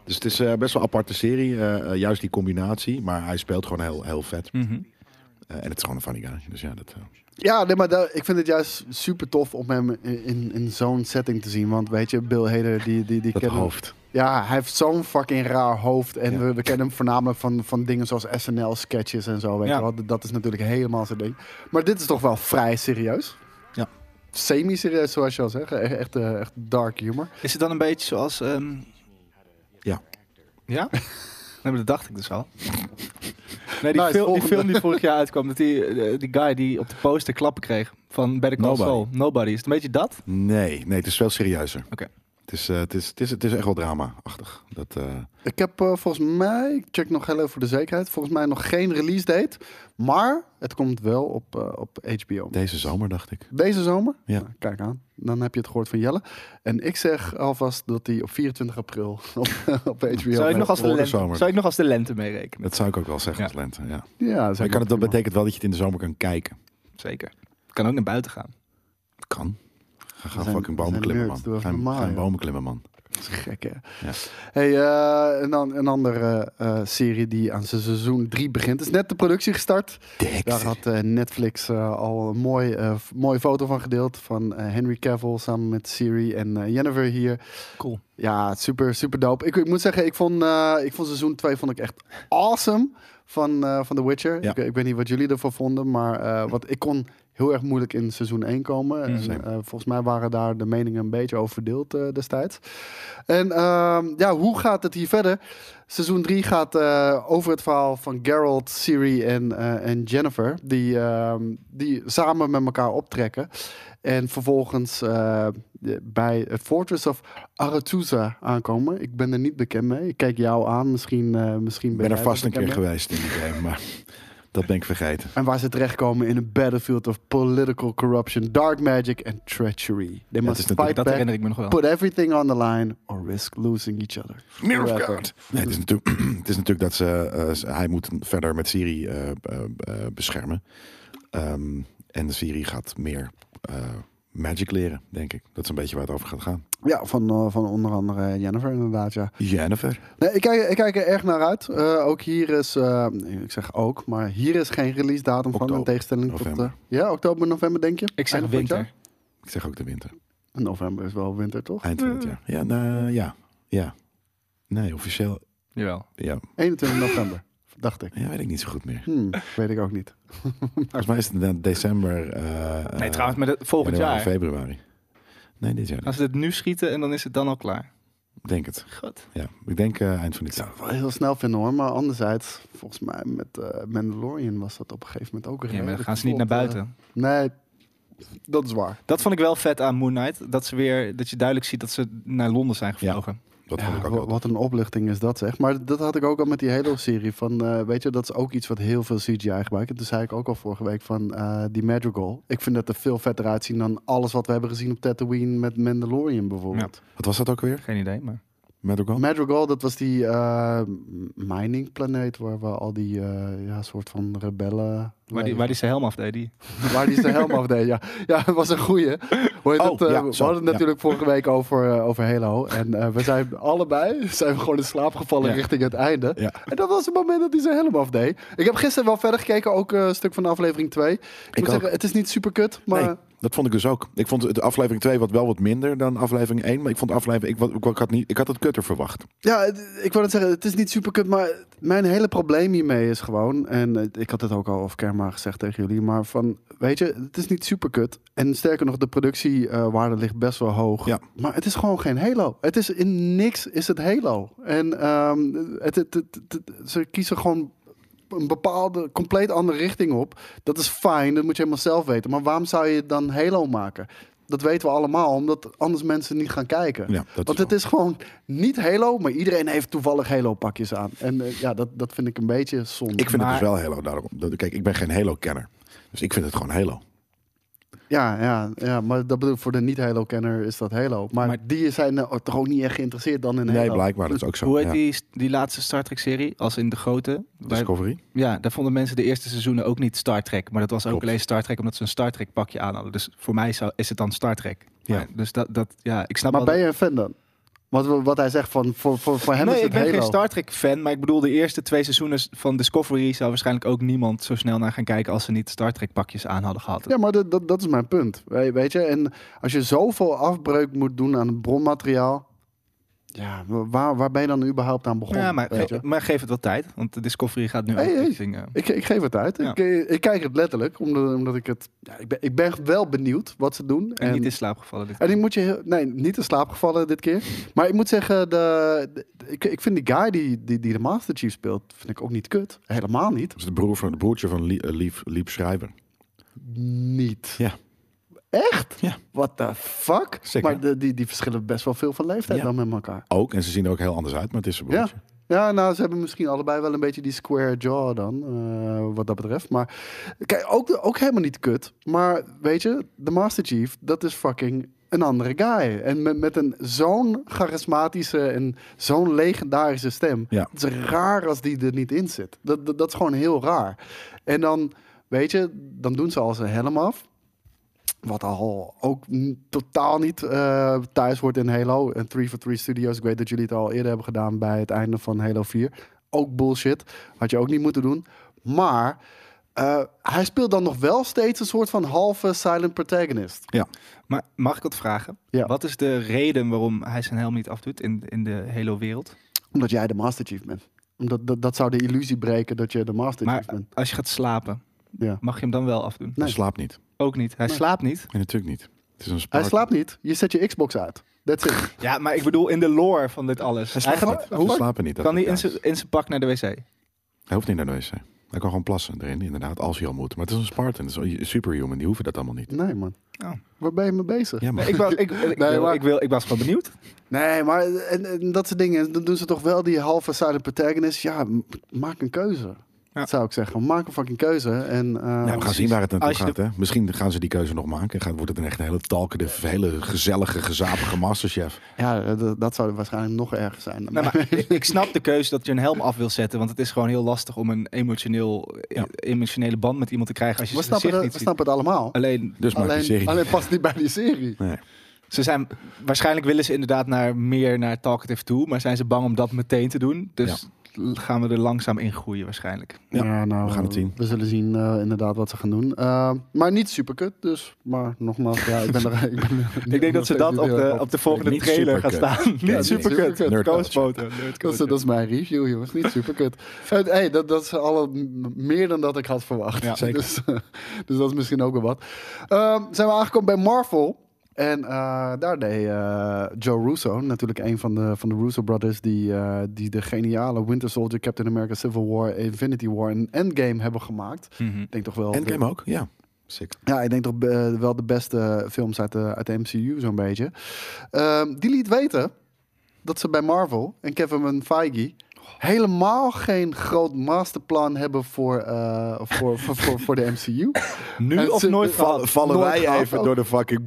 Dus het is eh, best wel een aparte serie. eh, eh, juist die combinatie. Maar hij speelt gewoon heel, heel vet.
Mhm.
Eh, en het is gewoon een funny guy. Dus ja, dat... eh,
Ja, nee, maar da- ik vind het juist super tof om hem in, in, in zo'n setting te zien. Want weet je, Bill Hader, die, die, die
dat
kennen-
hoofd.
Ja, hij heeft zo'n fucking raar hoofd. En
Ja.
we, we kennen hem voornamelijk van, van dingen zoals SNL-sketches en zo. Weet
Ja.
je wel. Dat is natuurlijk helemaal zijn ding. Maar dit is toch wel vrij serieus.
Ja.
Semi-serieus, zoals je al zegt. E- Echt, eh, echt dark humor.
Is het dan een beetje zoals... ehm,
Ja.
Ja? nee, maar dat dacht ik dus al. Nee, die,
Nou,
Nice,
fil- die
volgende.
film die vorig jaar uitkwam, dat die, eh, die guy die op de poster klappen kreeg van Better Call
Nobody.
Saul. Nobody. Is het een beetje dat?
Nee, nee, het is veel serieuzer.
Oké.
Het, is, eh, het, is, het, is, het is echt wel drama-achtig. Dat, eh,
Ik heb eh, volgens mij, ik check nog heel even voor de zekerheid, volgens mij nog geen release date. Maar het komt wel op, eh, op HBO.
deze zomer, dacht ik.
Deze zomer?
Ja.
Nou, kijk aan. Dan heb je het gehoord van Jelle. En ik zeg alvast dat hij op 24 april op, op HBO...
Zou ik, nog als de
voor de
lente,
zomer.
zou ik nog als de lente meerekenen?
Dat zou ik ook wel zeggen
Ja.
als lente, ja.
Ja,
Maar
zeg
kan het,
maar.
dat betekent wel dat je het in de zomer kan kijken.
Zeker. Kan ook naar buiten gaan.
Kan. Ga gaan
zijn-
fucking
we
bomen
zijn
klimmen,
nerds, doe
man.
even
Ga een-
normaal,
ga een
joh.
bomen klimmen, man.
Dat is gek, hè?
Ja.
Hey, eh, en dan een andere eh, serie die aan zijn seizoen 3 begint. Is net de productie gestart. Daar had eh, Netflix eh, al een mooi, eh, f- mooie foto van gedeeld. Van eh, Henry Cavill samen met Siri en eh, Jennifer hier.
Cool.
Ja, super, super dope. Ik, ik moet zeggen, ik vond, eh, ik vond seizoen 2 vond ik echt awesome van, eh, van The Witcher.
Ja.
Ik, ik weet niet wat jullie ervan vonden, maar eh, wat, ik kon heel heel erg moeilijk in seizoen 1 komen. En,
Same.
eh, volgens mij waren daar de meningen een beetje over verdeeld eh, destijds. En ehm, ja, hoe gaat het hier verder? Seizoen 3 gaat eh, over het verhaal van Geralt, Ciri en, eh, en Jennifer. Die, ehm, die samen met elkaar optrekken. En vervolgens eh, de- bij het Fortress of Aretusa aankomen. Ik ben er niet bekend mee. Ik kijk jou aan. Misschien, eh, misschien
Ik
ben,
ben er
jij
vast een
bekend
keer
mee.
geweest in die game, maar dat ben ik vergeten.
En waar ze terechtkomen in een battlefield of political corruption, dark magic en treachery.
is
They must
natuurlijk-
fight
Dat
back,
herinner ik me nog wel.
put everything on the line, or risk losing each other.
Mirror of
Forever.
God. Nee, het, is natuurlijk, het is natuurlijk dat ze, eh, ze- hij moet verder met Siri eh, eh, eh, beschermen. Ehm, en Siri gaat meer eh, magic leren, denk ik. Dat is een beetje waar het over gaat gaan.
Ja, van, eh, van onder andere Jennifer inderdaad, ja.
Jennifer.
Nee, ik, kijk, ik kijk er erg naar uit. Eh, ook hier is, eh, ik zeg ook, maar hier is geen release datum van, in
Oktober,
tegenstelling tot...
november.
eh, ja, oktober, november denk je?
Ik zeg
Einde van het
winter.
Ik zeg ook de winter.
jaar? November is wel winter, toch?
Eind van
Mm.
het jaar. Ja, nou, ja. ja. Nee, officieel.
Jawel.
Ja.
21 november, dacht ik.
ja, weet ik niet zo goed meer.
Hmm, weet ik ook niet.
Volgens mij is het inderdaad december. eh,
Nee,
eh,
trouwens, maar dat- volgend
januari,
jaar. Ah.
februari. Nee, dit jaar. niet.
Als ze het nu schieten en dan is het dan al klaar.
Ik denk het.
God.
Ja, ik denk eh, eind van dit jaar.
Wel heel snel vinden hoor, maar anderzijds, volgens mij met eh, Mandalorian was dat op een gegeven moment ook
Ja, maar dan
redelijk
gaan ze niet naar
vlot, eh.
buiten.
nee, dat is waar.
Dat vond ik wel vet aan Moon Knight. Dat, ze weer, dat je duidelijk ziet dat ze naar Londen zijn gevlogen.
Dat
Ja,
vond ik ook
wa-
wel.
wat een opluchting is dat zeg. Maar dat had ik ook al met die Halo-serie. Van, eh, weet je, dat is ook iets wat heel veel CGI gebruikt. En toen zei ik ook al vorige week van eh, die Madrigal. Ik vind dat er veel vetter uitzien dan alles wat we hebben gezien op Tatooine met Mandalorian bijvoorbeeld.
Wat was dat ook weer?
Geen idee, maar...
Met ook al?
Madrigal, dat was die eh, miningplaneet mining-planeet waar we al die eh, ja, soort van rebellen...
Waar die,
leven.
waar die zijn helm afdeed, die...
Waar die zijn helm afdeed, ja. Ja, dat was een goeie. Hoe heet
Oh,
het, eh,
ja,
we
zo,
hadden het
ja.
natuurlijk vorige week over, eh, over Halo. En eh, we zijn allebei zijn we gewoon in slaap gevallen
Ja.
richting het einde.
Ja.
En dat was het moment dat hij zijn helm afdeed. Ik heb gisteren wel verder gekeken, ook eh, een stuk van de aflevering 2. Ik, moet
ook.
zeggen, het is niet super kut, maar...
Nee, dat vond ik dus ook. Ik vond de aflevering 2 wat wel wat minder dan aflevering 1. Maar ik vond aflevering... Ik, wa- ik, had, niet, ik had het kutter verwacht.
Ja, het- ik wil het zeggen, het is niet super kut, maar mijn hele probleem hiermee is gewoon, en eh, ik had het ook al off camera gezegd tegen jullie, maar van, weet je, het is niet super kut. En sterker nog, de productiewaarde ligt best wel hoog.
Ja.
Maar het is gewoon geen Halo. Het is in niks is het Halo. En ehm, het, het, het- het- ze kiezen gewoon een bepaalde, compleet andere richting op. Dat is fijn, dat moet je helemaal zelf weten. Maar waarom zou je dan Halo maken? Dat weten we allemaal, omdat anders mensen niet gaan kijken.
Ja, dat
Want
is
het is gewoon niet Halo, maar iedereen heeft toevallig Halo-pakjes aan. En eh, ja, dat, dat vind ik een beetje zonde.
Ik vind
Maar-
het dus wel Halo. Daarom. Dat- Kijk, ik ben geen Halo-kenner. Dus ik vind het gewoon Halo.
Ja, ja, ja, maar dat bedoel ik, voor de niet-Halo-kenner is dat Halo. Maar,
Maar-
die zijn eh, toch ook niet echt geïnteresseerd dan in
Nee,
Halo.
blijkbaar. Dat is ook zo.
Hoe heet
ja.
die, die laatste Star Trek-serie? Als in de grote. Waar-
Discovery?
Ja, daar vonden mensen de eerste seizoenen ook niet Star Trek. Maar dat was ook
Klopt.
alleen Star Trek omdat ze een Star Trek pakje aan hadden. Dus voor mij zou, is het dan Star Trek.
Ja.
Maar dus dat, dat, ja, ik snap
maar
wel
ben je een fan dan? Wat, wat hij zegt, van, voor, voor, voor hem
dat... Nee,
is
ik
het
ben
Halo.
geen Star Trek fan. Maar ik bedoel, de eerste twee seizoenen van Discovery zou waarschijnlijk ook niemand zo snel naar gaan kijken als ze niet Star Trek pakjes aan hadden gehad.
Ja, maar dat, dat, dat is mijn punt. We- Weet je, en als je zoveel afbreuk moet doen aan het bronmateriaal... Ja, waar, waar ben je dan überhaupt aan begonnen?
Ja, maar,
weet je?
ge- maar geef het wel tijd. Want de Discovery gaat nu
Hey,
ook
hey.
richting, eh,
Ik, ik geef het uit.
Ja.
Ik, eh, ik kijk het letterlijk, omdat, omdat ik het... Ja, ik, ben, ik ben wel benieuwd wat ze doen.
en, niet in slaap gevallen. Dit
en ik moet je... heel- Nee, niet in slaap gevallen dit keer. Maar ik moet zeggen, de, de- ik, ik vind die guy die, die, die de Master Chief speelt, vind ik ook niet kut. Helemaal niet.
Dat is de broer van, de broertje van Lie- eh, Lief, Lief Schrijver.
Niet.
Ja.
Echt?
Ja.
What the fuck?
Zeker.
Maar de- die, die verschillen best wel veel van leeftijd
Ja.
dan met elkaar.
Ook. En ze zien er ook heel anders uit, maar het is zijn
Ja.
broertje.
Ja, nou, ze hebben misschien allebei wel een beetje die square jaw dan, eh, wat dat betreft. Maar kijk, ook, ook helemaal niet kut. Maar weet je, de Master Chief, dat is fucking een andere guy. En met, met een zo'n charismatische en zo'n legendarische stem.
Ja.
Het is raar als die er niet in zit. Dat, dat, dat is gewoon heel raar. En dan, weet je, dan doen ze al zijn helm af. Wat al ook n- totaal niet eh, thuis wordt in Halo. En 3 for 3 Studios, ik weet dat jullie het al eerder hebben gedaan bij het einde van Halo 4. Ook bullshit. Had je ook niet moeten doen. Maar eh, hij speelt dan nog wel steeds een soort van halve silent protagonist.
Maar mag ik wat vragen?
Ja.
Wat is de reden waarom hij zijn helm niet afdoet in, in de hele wereld?
Omdat jij de Master Chief bent. Omdat dat, dat zou de illusie breken dat je de Master
Maar
Chief bent.
als je gaat slapen,
Ja.
mag je hem dan wel afdoen?
Hij
Nee.
slaapt niet.
Oké, ook niet. Hij
Nee.
slaapt niet.
Nee, natuurlijk niet. Het is een
Hij
spark.
slaapt niet. Je zet je Xbox uit. That's it.
Ja, maar ik bedoel in de lore van dit alles. Hij gaat-
niet.
hoe
Ze slapen niet. dat
kan
is
hij in
juist.
zijn- in zijn pak naar de wc?
Hij hoeft niet naar de wc. Hij kan gewoon plassen erin, inderdaad, als hij al moet. Maar het is een Spartan, het is een superhuman, die hoeven dat allemaal niet.
Nee, man.
Oh.
Waar ben je mee bezig?
Ja, maar
Nee, ik, wou- ik, ik,
Nee,
wil,
maar-
ik, wil, ik was gewoon benieuwd.
Nee, maar en, en dat soort dingen. Dan doen ze toch wel die halve silent protagonist. Ja, m- maak een keuze.
Ja.
Zou ik zeggen. Maak een fucking keuze. En, eh,
Nou, we gaan zien waar het naartoe
Als je
gaat. Hè? Misschien gaan ze die keuze nog maken. En gaat, wordt het een echt een hele talkende, hele gezellige, gezapige masterchef.
ja, d- dat zou waarschijnlijk nog erger zijn.
Nou, maar ik, ik snap de keuze dat je een helm af wil zetten. Want het is gewoon heel lastig om een emotioneel,
Ja.
emotionele band met iemand te krijgen als je
we
zijn
snappen,
gezicht
het-
niet
we
ziet.
snappen het allemaal.
Alleen,
Dus maak die
Alleen,
serie.
alleen past niet bij die serie.
Nee.
ze zijn, waarschijnlijk willen ze inderdaad naar, meer naar talkative toe. Maar zijn ze bang om dat meteen te doen. Dus l- gaan we er langzaam in groeien waarschijnlijk.
Ja,
nou,
we gaan het zien.
We zullen zien eh, inderdaad wat ze gaan doen. Eh, maar niet super kut, dus. Maar nogmaals, ja, ik ben er. Ik, ben er-
Ik denk dat ze
nog
dat
steeds
op
niet
de,
heel
op de volgende
Niet
trailer gaat
superkut.
staan.
Ja,
Niet
niet
superkut.
superkut.
Nerd
Koosfoto.
Dat is, dat is mijn review, jongens. Niet super kut. hey, dat, dat is alle m- meer dan dat ik had verwacht.
Ja, zeker.
Dus, eh, dus dat is misschien ook wel wat. Ehm, zijn we aangekomen bij Marvel. En eh, daar deed eh, Joe Russo, natuurlijk een van de, van de Russo brothers, die, eh, die de geniale Winter Soldier, Captain America Civil War, Infinity War en Endgame hebben gemaakt.
Mhm.
Ik denk toch wel.
Endgame ook? Ja. Sick.
Ja, ik denk toch eh, wel de beste films uit de, uit de MCU, zo'n beetje. Ehm, die liet weten dat ze bij Marvel en Kevin Feige helemaal geen groot masterplan hebben voor, eh, voor, voor, voor, voor de MCU.
Nu
En
of
ze-
nooit
Val-
van.
vallen
nooit
wij
gehad
even
ook.
door de fucking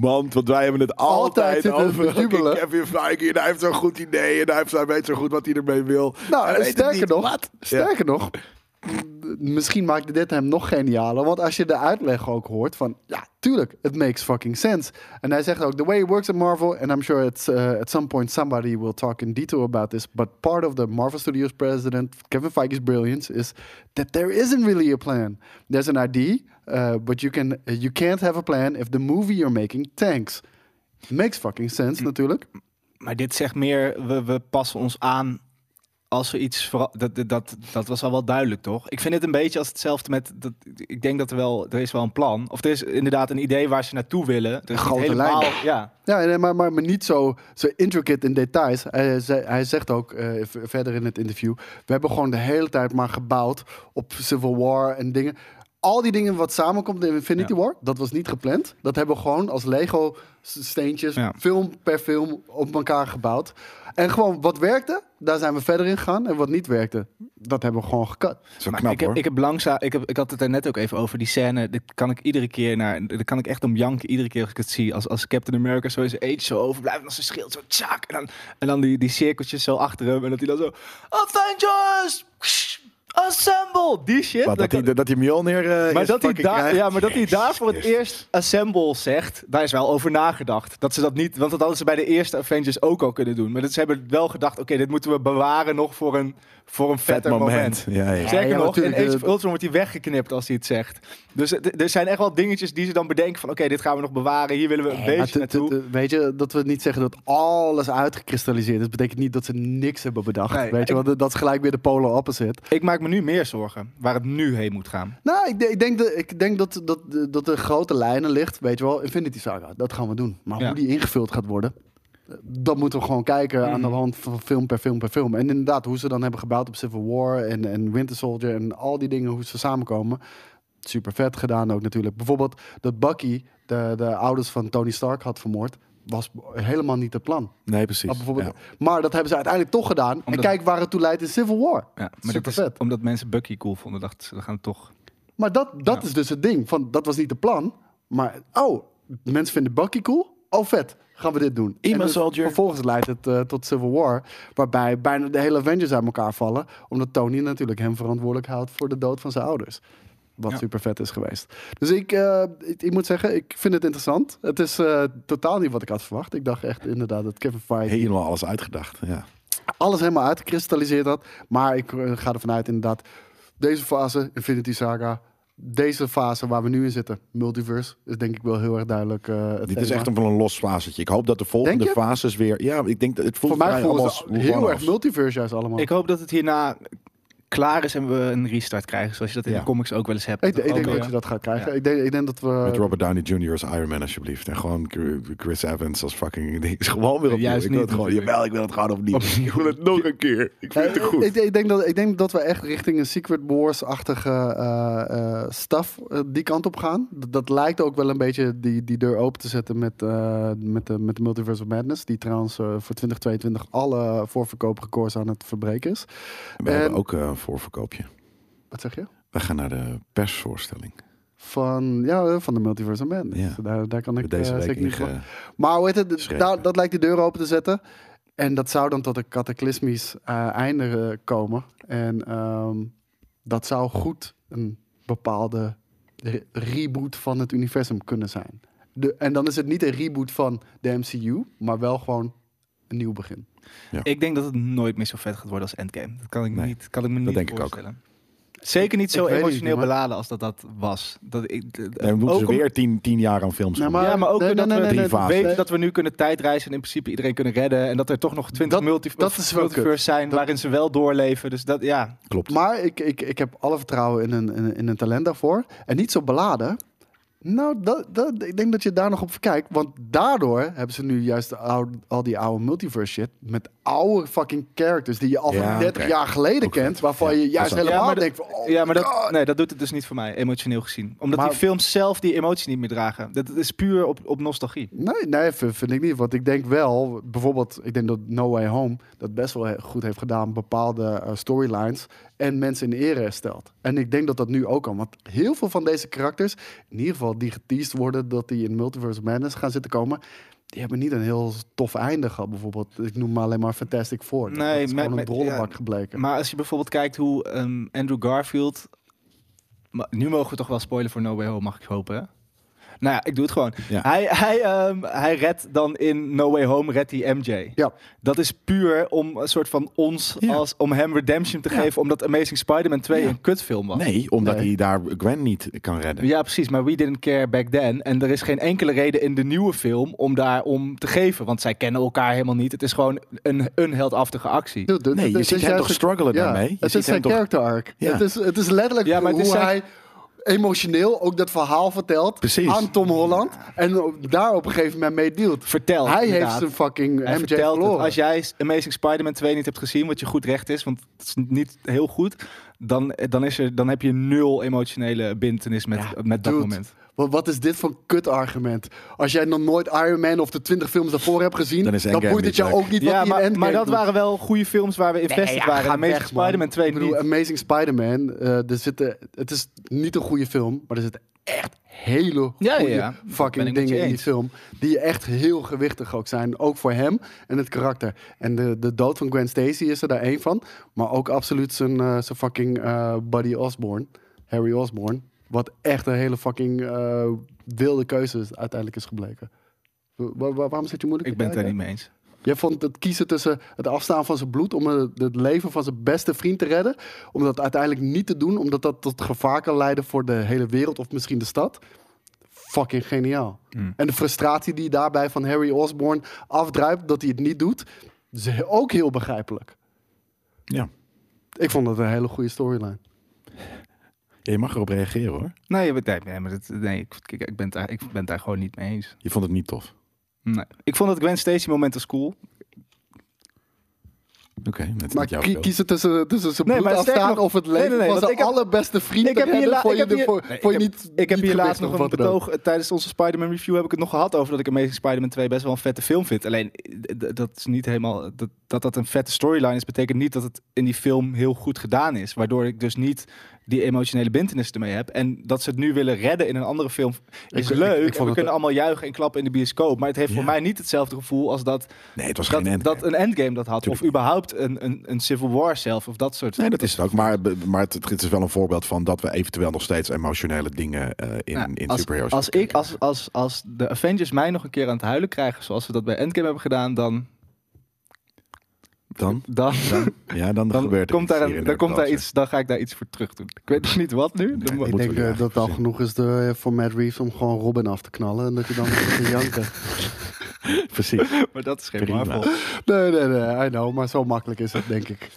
mand. Want wij hebben het altijd,
zitten we te
over
jubelen.
Kevin Feige. En hij heeft zo'n goed idee. En hij, heeft, hij weet zo goed wat hij ermee wil. Hij
Nou, en
weet het
sterker
niet.
nog, sterker nog, m- misschien maakte dit hem nog genialer. Want als je de uitleg ook hoort van, ja, tuurlijk, it makes fucking sense. En hij zegt ook, the way it works at Marvel, and I'm sure it's, uh, at some point somebody will talk in detail about this, but part of the Marvel Studios president, Kevin Feige's brilliance, is that there isn't really a plan. There's an idea, uh, but you, can, you can't have a plan if the movie you're making tanks. Makes fucking
Mm.
sense, natuurlijk.
Maar dit zegt meer, we, we passen ons aan als we iets... vera- Dat, dat, dat, dat was al wel duidelijk, toch? Ik vind het een beetje als hetzelfde met... Dat, ik denk dat er wel... Er is wel een plan. Of er is inderdaad een idee waar ze naartoe willen. Er is niet
grote
helemaal,
lijn.
Ja.
Ja, nee, maar, maar, maar niet zo, zo intricate in details. Hij, ze- hij zegt ook eh, v- verder in het interview... we hebben gewoon de hele tijd maar gebouwd op Civil War en dingen. Al die dingen wat samenkomt in Infinity
Ja.
War, dat was niet gepland. Dat hebben we gewoon als Lego-steentjes,
Ja.
film per film, op elkaar gebouwd. En gewoon wat werkte, daar zijn we verder in gegaan. En wat niet werkte, dat hebben we gewoon gekat.
Zo
Maar
knap
ik, heb,
hoor.
ik heb langzaam... Ik, heb, ik had het er net ook even over, die scène. Dit kan ik iedere keer naar... Daar kan ik echt om janken iedere keer als ik het zie. Als, als Captain America zo in zijn eentje zo overblijft. En als zijn schild zo tjak. En dan, en dan die, die cirkeltjes zo achter hem. En dat hij dan zo... Avengers! Assemble! Die shit.
Wat,
Dan
dat,
kan-
hij, dat hij Mjolnir eh,
Maar
is
dat, hij
fucking
daar,
krijgt.
ja, maar dat hij daar voor het
Jezus
eerst assemble zegt, daar is wel over nagedacht. Dat ze dat niet, want dat hadden ze bij de eerste Avengers ook al kunnen doen. Maar dat ze hebben wel gedacht, oké, dit moeten we bewaren nog voor een, voor een
Vet
vetter moment.
moment. Ja, ja.
Zeker
Ja, ja,
nog, in
natuurlijk,
Age
eh,
of Ultron wordt hij weggeknipt als hij het zegt. Dus het- er zijn echt wel dingetjes die ze dan bedenken van, oké, dit gaan we nog bewaren, hier willen we een
Maar
beetje
t- t-
naartoe.
t- weet je, dat we niet zeggen dat alles uitgekristalliseerd is, betekent niet dat ze niks hebben bedacht.
Nee,
weet je,
ik-
want dat is gelijk weer de polar opposite.
Ik maak me nu meer zorgen waar het nu heen moet gaan.
Nou, ik, de- ik denk, de, ik denk dat, dat, dat de grote lijnen ligt, weet je wel, Infinity Saga, dat gaan we doen. Maar
Ja.
hoe die ingevuld gaat worden, dat moeten we gewoon kijken aan de
Mhm.
hand van film per film per film. En inderdaad, hoe ze dan hebben gebouwd op Civil War en, en Winter Soldier en al die dingen, hoe ze samenkomen. Super vet gedaan ook natuurlijk. Bijvoorbeeld dat Bucky de, de ouders van Tony Stark had vermoord, was helemaal niet het plan.
Nee, precies.
Maar, bijvoorbeeld,
Ja.
maar dat hebben ze uiteindelijk toch gedaan. En
Omdat-
kijk waar het toe leidt in Civil War.
Ja, maar dat
Super
is
vet.
omdat mensen Bucky cool vonden, dachten ze, we gaan het toch...
Maar dat, dat is dus het ding. Van, dat was niet de plan. Maar, oh, mensen vinden Bucky cool. Oh, vet. Gaan we dit doen.
Emo
En het-
Soldier.
Vervolgens leidt het eh, tot Civil War. Waarbij bijna de hele Avengers uit elkaar vallen. Omdat Tony natuurlijk hem verantwoordelijk houdt voor de dood van zijn ouders. Wat
Ja.
super vet is geweest. Dus ik, eh, ik, ik moet zeggen, ik vind het interessant. Het is eh, totaal niet wat ik had verwacht. Ik dacht echt inderdaad dat Kevin Feige
Helemaal alles uitgedacht. Ja.
alles helemaal uitgekristalliseerd had. Maar ik eh, ga ervan uit inderdaad, deze fase, Infinity Saga, deze fase waar we nu in zitten, multiverse, is denk ik wel heel erg duidelijk eh, het
Dit is
thema.
echt een, van een los fasetje. Ik hoop dat de volgende
Denk je?
fases weer... Ja, ik denk dat het voelt
Voor mij
vrij
voelen
allemaal
ze heel erg
one-offs.
multiverse juist allemaal.
Ik hoop dat het hierna klaar is en we een restart krijgen. Zoals je dat in
Ja.
de comics ook wel eens hebt.
Ik, ik
Ook,
denk
eh,
dat je dat gaat krijgen. Ik, denk, ik denk dat we...
Met Robert Downey Jr. als Iron Man, alsjeblieft. En gewoon Chris Evans als fucking ding. Gewoon weer opnieuw.
Juist
ik wil
niet,
het gewoon,
natuurlijk.
jawel, ik wil het gewoon opnieuw. ik wil het nog een keer. Ik vind het
Eh,
goed.
Ik, ik denk dat, ik denk dat we echt richting een Secret Wars-achtige eh, eh, staf eh, die kant op gaan. Dat, dat lijkt ook wel een beetje die, die deur open te zetten met, eh, met, de, met de Multiverse of Madness. Die trouwens eh, voor 2022 alle voorverkooprecords aan het verbreken is.
We hebben
en-
ook eh, een voorverkoopje.
Wat zeg je?
We gaan naar de persvoorstelling.
Van, ja, van de Multiverse of Madness.
Ja.
Daar, daar kan ik
Deze
eh,
week
zeker niet
inge-
van. Maar hoe heet het?
Schreven.
Daar- dat lijkt de deur open te zetten. En dat zou dan tot een cataclysmisch eh, einde eh, komen. En ehm, dat zou goed een bepaalde re- reboot van het universum kunnen zijn. De, en dan is het niet een reboot van de MCU, maar wel gewoon een nieuw begin.
Ik denk dat het nooit meer zo vet gaat worden als Endgame. Dat kan ik,
Nee,
niet, kan ik me niet
denk ik ook.
voorstellen. Zeker niet
ik
zo
weet het
emotioneel
niet, maar-
beladen als dat dat was. Dat ik, d- d-
Nee, we moeten
ook
ze
om-
weer tien, tien jaar aan films
Nee,
doen.
Oh, Nou, maar-
ja, maar ook
Nee,
doordat
nee,
we
nee,
nee, nee,
weten
nee.
dat we nu kunnen tijdreizen en in principe iedereen kunnen redden. En dat er toch nog twintig
Dat- dat is wel kut.
multiverse zijn
Dat-
waarin ze wel doorleven. Dus dat, ja.
Klopt.
Maar ik, ik, ik heb alle vertrouwen in een, in, een- in een talent daarvoor. En niet zo beladen. Nou, dat, dat, ik denk dat je daar nog op verkijkt. Want daardoor hebben ze nu juist de oude- al die oude multiverse shit. Met oude fucking characters die je al van
Ja,
30
oké.
jaar geleden
Ook
kent.
vet.
Waarvan
Ja,
je
dat
juist
is-
helemaal
ja, maar,
denkt
dat-
van... Oh
ja, maar
my
dat,
God.
nee, dat doet het dus niet voor mij, emotioneel gezien. Omdat
Maar-
die films zelf die emotie niet meer dragen. Dat is puur op, op nostalgie.
Nee, nee, vind vind ik niet. Want ik denk wel, bijvoorbeeld, ik denk dat No Way Home dat best wel he- goed heeft gedaan, bepaalde eh, storylines en mensen in ere herstelt. En ik denk dat dat nu ook kan. Want heel veel van deze karakters, in ieder geval die geteased worden, dat die in Multiverse of Madness gaan zitten komen, die hebben niet een heel tof einde gehad. Bijvoorbeeld, ik noem maar alleen maar Fantastic Four. Dat
Nee,
is
met-
gewoon een
met-
drollebak
ja,
gebleken.
Maar als je bijvoorbeeld kijkt hoe ehm, Andrew Garfield. Maar nu mogen we toch wel spoilen voor No Way Home, mag ik hopen. Hè? Nou ja, ik doe het gewoon.
Ja.
Hij, hij, ehm, hij redt dan in No Way Home, redt hij MJ.
Ja.
Dat is puur om een soort van ons,
Ja.
als, om hem redemption te geven, omdat Amazing Spider-Man 2
Ja.
een kutfilm was.
Nee, omdat
Nee.
hij daar Gwen niet kan redden.
Ja, precies. Maar we didn't care back then. En er is geen enkele reden in de nieuwe film om daarom te geven. Want zij kennen elkaar helemaal niet. Het is gewoon een, een heldhaftige actie.
Dude, dit-
Nee, je
dit is
ziet hem
juist
toch
het-
struggelen daarmee? Je
Het
ziet
is zijn
hem toch-
character arc.
Ja.
Het, is, het is letterlijk
Ja, maar het
hoe
is zijn-
hij emotioneel ook dat verhaal vertelt
Precies.
aan Tom Holland. En op- daar op een gegeven moment mee dealt.
Vertel.
hij heeft
inderdaad.
zijn fucking
Hij
MJ
vertelt het.
verloren.
als jij Amazing Spider-Man 2 niet hebt gezien, wat je goed recht is, want het is niet heel goed, dan, dan, is er, dan heb je nul emotionele bindenis met, met dat
Dude,
moment.
wa- Wat is dit voor een kut argument? Als jij nog nooit Iron Man of de 20 films daarvoor hebt gezien,
Dan
dan,
is Endgame
boeit het jou
niet leuk.
ook niet
Ja,
wat hij in
maar,
Endgame
maar dat
doet.
waren wel goede films waar we invested
ja,
waren.
ga
Amazing
weg, man.
Spider-Man 2
Ik bedoel,
niet.
Amazing Spider-Man, eh, er zitten, het is niet een goede film, maar er zitten echt hele
Ja, ja,
goede
ja. Dat ben
fucking
ik met je
dingen in die
eens.
film. Die echt heel gewichtig ook zijn. Ook voor hem en het karakter. En de, de dood van Gwen Stacy is er daar één van. Maar ook absoluut zijn, eh, zijn fucking eh, Buddy Osborne. Harry Osborne. Wat echt een hele fucking eh, wilde keuze is, uiteindelijk is gebleken. Wa- wa- waarom zit je moeilijk
Ik
te
ben het daar
kijken?
niet mee eens.
Jij vond het kiezen tussen het afstaan van zijn bloed om eh, het leven van zijn beste vriend te redden. Om dat uiteindelijk niet te doen, omdat dat tot gevaar kan leiden voor de hele wereld of misschien de stad. Fucking geniaal.
Mm.
En de frustratie die daarbij van Harry Osborn afdruipt dat hij het niet doet, is he- ook heel begrijpelijk.
Ja.
Ik vond dat een hele goede storyline.
Ja, Je mag erop reageren hoor.
Nee, je bent- nee, nee, maar dat, nee ik, ik, ik ben het daar, ik ben het daar gewoon niet mee eens.
Je vond het niet tof.
Nee. Ik vond dat Gwen Stacy moment was cool.
Oké, dat is
Maar
niet jouw
ki-
film.
kiezen tussen, tussen zijn
Nee,
bloed
maar sterk
afstaan
nog-
of het
nee, nee,
leven
nee,
van
want
zijn
ik heb-
allerbeste vriend
Ik heb
te
hier
redden
la-
voor
ik
je,
heb
de-
hier-
voor,
nee,
voor
ik
je
heb-
niet
Ik heb
niet
hier laatst
gewichtig
nog
of
een
wat dan ook.
betoog eh, tijdens onze Spider-Man review heb ik het nog gehad over dat ik Amazing Spider-Man 2 best wel een vette film vind. Alleen eh, d- dat is niet helemaal dat, dat dat een vette storyline is betekent niet dat het in die film heel goed gedaan is, waardoor ik dus niet die emotionele bindenis ermee heb en dat ze het nu willen redden in een andere film is
ik-
leuk.
ik vond
en we
het-
kunnen allemaal juichen en klappen in de bioscoop, maar het heeft voor
Ja.
mij niet hetzelfde gevoel als dat
Nee, het was geen
dat,
end.
dat een Endgame dat had
Tuurlijk
of überhaupt een, een, een Civil War zelf of dat soort.
Nee, dat is het ook. Maar, maar het, het is wel een voorbeeld van dat we eventueel nog steeds emotionele dingen eh, in,
Nou,
in
als,
superheroes
Als,
kunnen
ik, als, als, als de Avengers mij nog een keer aan het huilen krijgen, zoals we dat bij Endgame hebben gedaan, dan,
kijken.
dan,
Dan, dan, ja, dan,
dan,
gebeurt er
komt,
iets
daar
hier in
een, dan, komt daar
Nerdculture.
iets, dan ga ik daar iets voor terug doen. Ik weet nog niet wat nu. Dan mo-
nee,
Ik
moeten
denk
we
eh,
die
dat het al eh,
eigenlijk
genoeg is de, voor Matt Reeves om gewoon Robin af te knallen en dat je dan moet gaan janken.
precies.
Maar dat is geen
Prima.
Marvel.
Nee, nee, nee, I know, maar zo makkelijk is het, denk ik.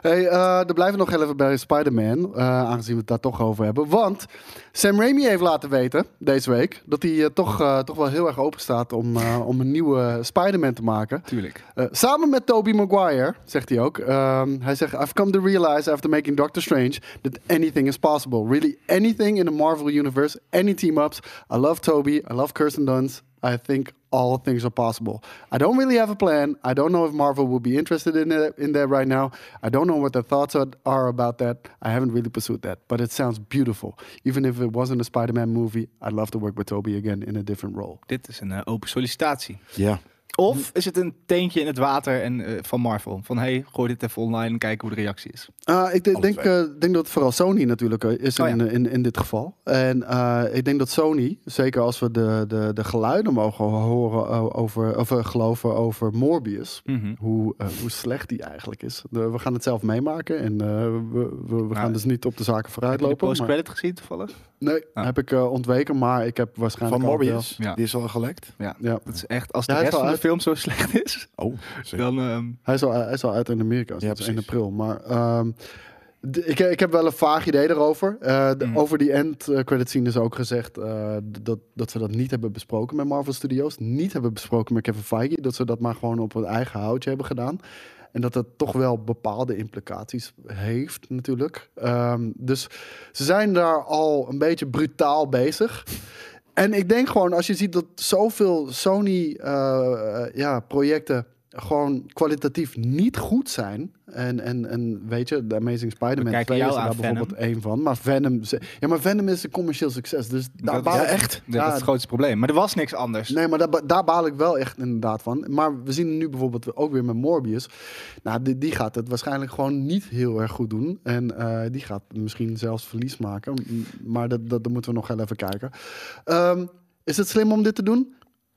Hey, eh er blijven we nog heel even bij Spider-Man, eh, aangezien we het daar toch over hebben. Want Sam Raimi heeft laten weten, deze week, dat hij eh, toch, eh, toch wel heel erg open staat om, eh, om een nieuwe Spider-Man te maken.
Tuurlijk.
Eh, samen met Tobey Maguire, zegt hij ook. Ehm, hij zegt, I've come to realize after making Doctor Strange that anything is possible. Really anything in the Marvel Universe, any team-ups. I love Tobey, I love Kirsten Dunst. I think all things are possible. I don't really have a plan. I don't know if Marvel will be interested in, it, in that right now. I don't know what their thoughts are, are about that. I haven't really pursued that, but it sounds beautiful. Even if it wasn't a Spider-Man movie, I'd love to work with Tobey again in a different role.
Dit is een eh, open sollicitatie.
Ja.
Of is het een teentje in het water en, eh, van Marvel? Van hey, gooi dit even online en kijk hoe de reactie is.
Ah, ik de-
Alle
denk,
twee.
eh, denk dat het vooral Sony natuurlijk eh, is
Oh
in,
ja.
eh, in, in dit geval. En eh, ik denk dat Sony, zeker als we de, de, de geluiden mogen horen eh, over, of eh, geloven over Morbius,
Mhm.
hoe, eh, hoe slecht die eigenlijk is. De- we gaan het zelf meemaken en eh, we, we, we
Ja.
gaan dus niet op de zaken
Heb je de
vooruitlopen. maar-
post-credit gezien toevallig?
nee,
Ah.
heb ik eh, ontweken, maar ik heb waarschijnlijk...
Van
al wel-
Morbius.
Ja.
Die is al gelekt.
Ja.
Ja.
Dat is echt, als
Ja,
de rest
hij
van
is wel Nou,
de film zo slecht is,
Oh, zeker.
dan... ehm,
Hij is al, hij is al uit in Amerika, dus
Ja,
dat is 1
precies.
april. Maar ehm, d- ik, ik heb wel een vaag idee daarover. Eh, de-
Mm.
Over die end eh, credit scene is ook gezegd eh, d- dat, dat ze dat niet hebben besproken met Marvel Studios. Niet hebben besproken met Kevin Feige. Dat ze dat maar gewoon op hun eigen houtje hebben gedaan. En dat dat toch wel bepaalde implicaties heeft natuurlijk. Ehm, dus ze zijn daar al een beetje brutaal bezig. En ik denk gewoon, als je ziet dat zoveel eh, Sony-projecten gewoon kwalitatief niet goed zijn. En, en, en weet je, de Amazing Spider-Man
kijken
2 is
jou
er
aan,
daar bijvoorbeeld één van. Maar Venom, ze- ja, maar Venom is een commercieel succes. Dus daar
Dat-
baal
ja,
ik-
echt?
dat is het grootste probleem. Maar er was niks anders.
Nee, maar daar, ba- daar baal ik wel echt inderdaad van. Maar we zien nu bijvoorbeeld ook weer met Morbius. Nou, die, die gaat het waarschijnlijk gewoon niet heel erg goed doen. En eh, die gaat misschien zelfs verlies maken. M- Maar dat, dat, dat moeten we nog heel even kijken. Ehm, is het slim om dit te doen?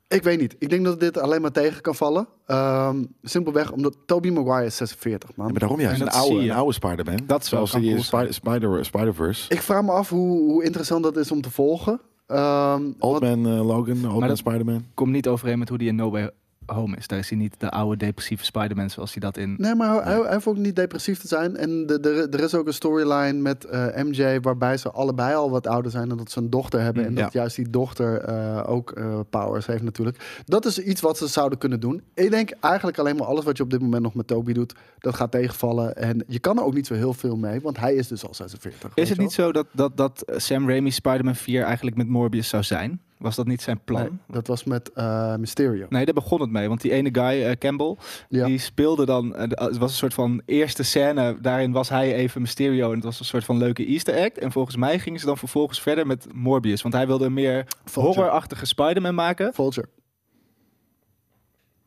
Ik weet niet. Ik denk dat dit alleen maar tegen kan vallen. Ehm, simpelweg omdat Tobey Maguire is 46, man.
Ja, maar daarom juist.
En
Een
dat
oude,
zie je.
een oude Spider-Man.
Dat is wel-
Zoals
kan
die
cool
Spider, Spider, Spider-Verse.
Ik vraag me af hoe, hoe interessant dat is om te volgen. Ehm,
Old
want-
Man eh, Logan, Old Man
dat-
Spider-Man.
Komt niet overeen met hoe die in No Way Home is. Daar is hij niet de oude depressieve Spider-Man zoals hij dat in...
Nee, maar hij, hij hoeft ook niet depressief te zijn. En de- de- er is ook een storyline met eh, MJ waarbij ze allebei al wat ouder zijn en dat ze een dochter hebben.
Mm,
En
Ja.
dat juist die dochter eh, ook eh, powers heeft natuurlijk. Dat is iets wat ze zouden kunnen doen. Ik denk eigenlijk alleen maar alles wat je op dit moment nog met Toby doet, dat gaat tegenvallen. En je kan er ook niet zo heel veel mee, want hij is dus al 46. weet
Is
je
het
wel?
niet zo dat, dat, dat eh, Sam Raimi's Spider-Man 4 eigenlijk met Morbius zou zijn? Was dat niet zijn plan?
Nee, dat was met eh, Mysterio.
Nee, daar begon het mee. Want die ene guy, eh, Campbell,
Ja.
die speelde dan... eh, de- het was een soort van eerste scène. Daarin was hij even Mysterio. En het was een soort van leuke easter egg. En volgens mij gingen ze dan vervolgens verder met Morbius. Want hij wilde een meer
Vulture.
horrorachtige Spider-Man maken.
Vulture.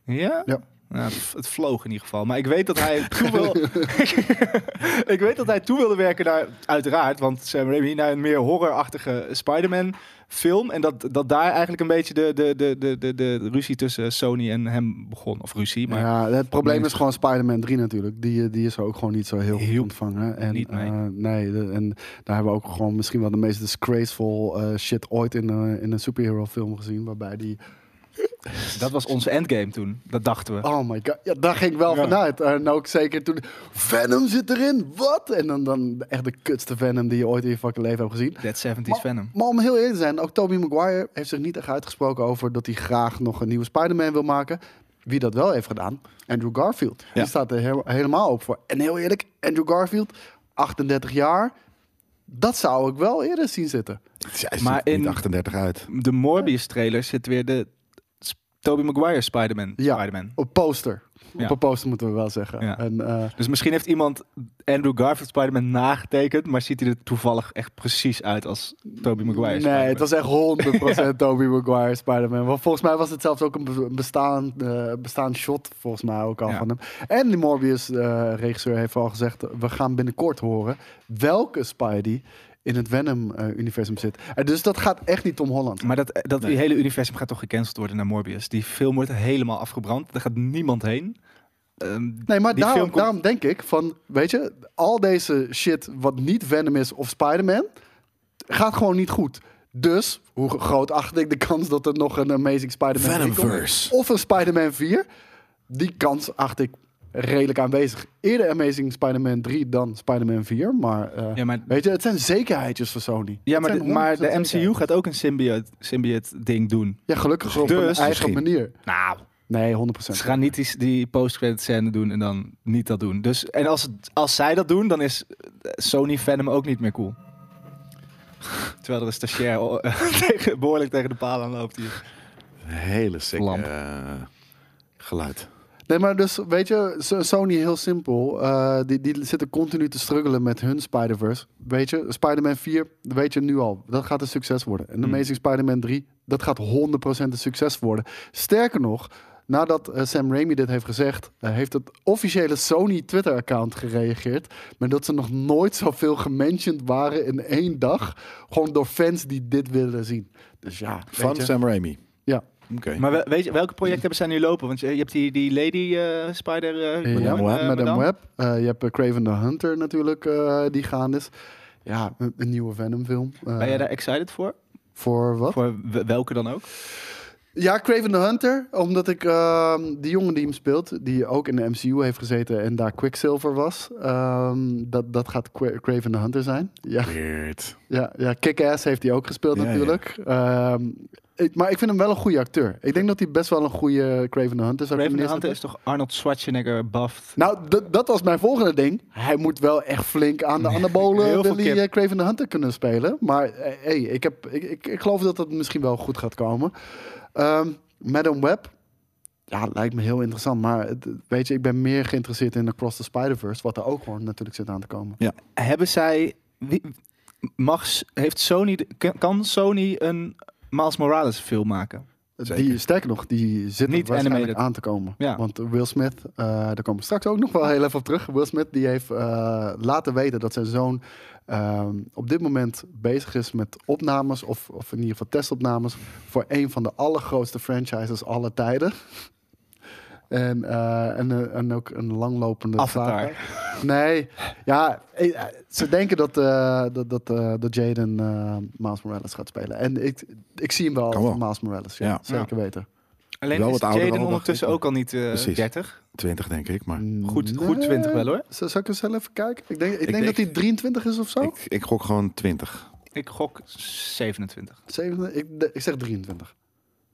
Ja?
Ja.
Nou, het- het vloog in ieder geval. Maar ik weet dat hij toe wil... ik weet dat hij toe wilde werken naar... Uiteraard, want Sam Raimi naar een meer horrorachtige Spider-Man film. En dat, dat daar eigenlijk een beetje de, de, de, de, de, de ruzie tussen Sony en hem begon. Of ruzie, maar...
ja, het probleem is gewoon Spider-Man 3 natuurlijk. Die, eh, die is ook gewoon niet zo heel goed
Heel
ontvangen. En,
niet mee.
eh, nee, de- en daar hebben we ook gewoon misschien wel de meest disgraceful eh, shit ooit in, eh, in een superhero film gezien. Waarbij die...
Dat was onze endgame toen. Dat dachten we.
Oh my god, ja, daar ging ik wel
Ja.
vanuit. En ook zeker toen... Venom zit erin, wat? En dan, dan echt de kutste Venom die je ooit in je fucking leven hebt gezien.
Dead
Oh.
70s Venom.
Maar om heel eerlijk te zijn, ook Tobey Maguire heeft zich niet echt uitgesproken over dat hij graag nog een nieuwe Spider-Man wil maken. Wie dat wel heeft gedaan, Andrew Garfield.
Ja.
Die staat er he- helemaal op voor. En heel eerlijk, Andrew Garfield, 38 jaar, dat zou ik wel eerder zien zitten.
Ja, Hij
Maar
ziet
in-
niet 38 uit.
De Morbius trailer zit weer de... S- Tobey Maguire Spider-Man.
Ja.
Spider-Man.
Op poster.
Ja.
Op een poster moeten we wel zeggen.
Ja.
En, eh,
Dus misschien heeft iemand Andrew Garfield Spider-Man nagetekend, maar ziet hij er toevallig echt precies uit als Tobey Maguire.
Nee,
Spider-Man.
het was echt 100% Tobey Maguire Spider-Man. Want volgens mij was het zelfs ook een be- bestaand, eh, bestaand shot, volgens mij ook al
Ja.
van hem. En die Morbius-regisseur heeft al gezegd, we gaan binnenkort horen welke Spidey in het Venom-universum zit. En dus dat gaat echt niet Tom Holland.
Maar dat, eh, dat die hele universum gaat toch gecanceld worden naar Morbius. Die film wordt helemaal afgebrand. Daar gaat niemand heen. Ehm,
Nee, maar
die
daarom,
film komt-
daarom denk ik van, weet je, al deze shit wat niet Venom is of Spider-Man, gaat gewoon niet goed. Dus, hoe groot acht ik de kans dat er nog een Amazing Spider-Man 3 komt?
Venomverse.
Of een Spider-Man 4? Die kans acht ik redelijk aanwezig. Eerder Amazing Spider-Man 3 dan Spider-Man 4. Maar, eh,
Ja, maar-
weet je, het zijn zekerheidjes voor Sony.
Ja,
Het
maar
zijn
de, maar
100%
de MCU
zekerheid.
gaat ook een symbiote, symbiote ding doen.
Ja, gelukkig op een
Dus-
eigen
Misschien.
manier.
Nou,
Nee, 100%.
ze gaan niet die, die post-credit scène doen en dan niet dat doen. Dus, en als, het- als zij dat doen, dan is eh, Sony Venom ook niet meer cool. Terwijl er een stagiair oh, tegen, behoorlijk tegen de paal aan loopt hier.
Een hele sick
Lamp.
eh, geluid.
Nee, maar dus weet je, So- Sony heel simpel. eh, die, die zitten continu te struggelen met hun Spider-Verse. Weet je, Spider-Man 4, dat weet je nu al, dat gaat een succes worden. En Amazing Spider-Man 3, dat gaat 100% een succes worden. Sterker nog, nadat eh, Sam Raimi dit heeft gezegd, eh, heeft het officiële Sony Twitter-account gereageerd. Met dat ze nog nooit zoveel gementiond waren in één dag. Gewoon door fans die dit willen zien. Dus ja,
Van
weet je.
Sam Raimi.
Ja.
Oké.
Maar we- weet je, welke projecten hebben zij nu lopen? Want je, je hebt die, die Lady eh, Spider... eh,
Ja,
madame, eh,
Madame
madame.
Web. Eh, je hebt eh, Craven the Hunter natuurlijk, eh, die gaande is. Ja, een, een nieuwe Venom-film. Eh,
Ben jij daar excited voor?
Voor wat?
Voor w- welke dan ook?
Ja, Craven the Hunter, omdat ik ehm, die jongen die hem speelt, die ook in de MCU heeft gezeten en daar Quicksilver was, ehm, dat, dat gaat Qua- Craven the Hunter zijn. Ja,
Weird.
ja, ja Kick-Ass heeft hij ook gespeeld
Ja, ja.
natuurlijk. Ehm, ik- maar ik vind hem wel een goede acteur. Ik denk dat hij best wel een goede Craven the Hunter zou
Raven
kunnen
de Hunter
neerzetten.
is toch Arnold Schwarzenegger buffed?
Nou, d- dat was mijn volgende ding. Hij moet wel echt flink aan de anabolen
Heel veel
wil hij
kip.
eh, Craven the Hunter kunnen spelen. Maar eh, hey, ik, heb, ik, ik, ik geloof dat dat misschien wel goed gaat komen. Ehm Madam Web. Ja, lijkt me heel interessant. Maar het- weet je, ik ben meer geïnteresseerd in Across the Spider-Verse. Wat er ook gewoon natuurlijk zit aan te komen.
Hebben zij... Wie, mag, S- heeft Sony... de- kan- Kan Sony een Miles Morales film maken?
Zeker.
Die, sterker nog, die zit er
Niet
waarschijnlijk
animated.
aan te komen.
Ja.
Want Will Smith, eh, daar komen we straks ook nog wel heel even op terug. Will Smith die heeft eh, laten weten dat zijn zoon ehm, op dit moment bezig is met opnames... Of, of in ieder geval testopnames... voor een van de allergrootste franchises aller tijden. En, eh, en, eh, en ook een langlopende...
Avatar.
saga. Nee, ja, eh, ze denken dat, eh, dat, dat, eh, dat Jaden eh, Miles Morales gaat spelen. En ik, ik zie hem wel
Kan
als
wel.
Miles Morales, ja,
Ja.
zeker weten.
Alleen
Wel
is
wat ouder
Jaden
al, dacht
ondertussen
ik.
ook al niet eh,
Precies.
30.
20 denk ik, maar
Goed, goed 20 wel hoor.
Zal ik eens heel even kijken? Ik denk, ik denk
denk-
dat hij 23 is of zo.
ik, ik gok gewoon 20.
Ik gok 27.
27, ik, de- ik zeg 23.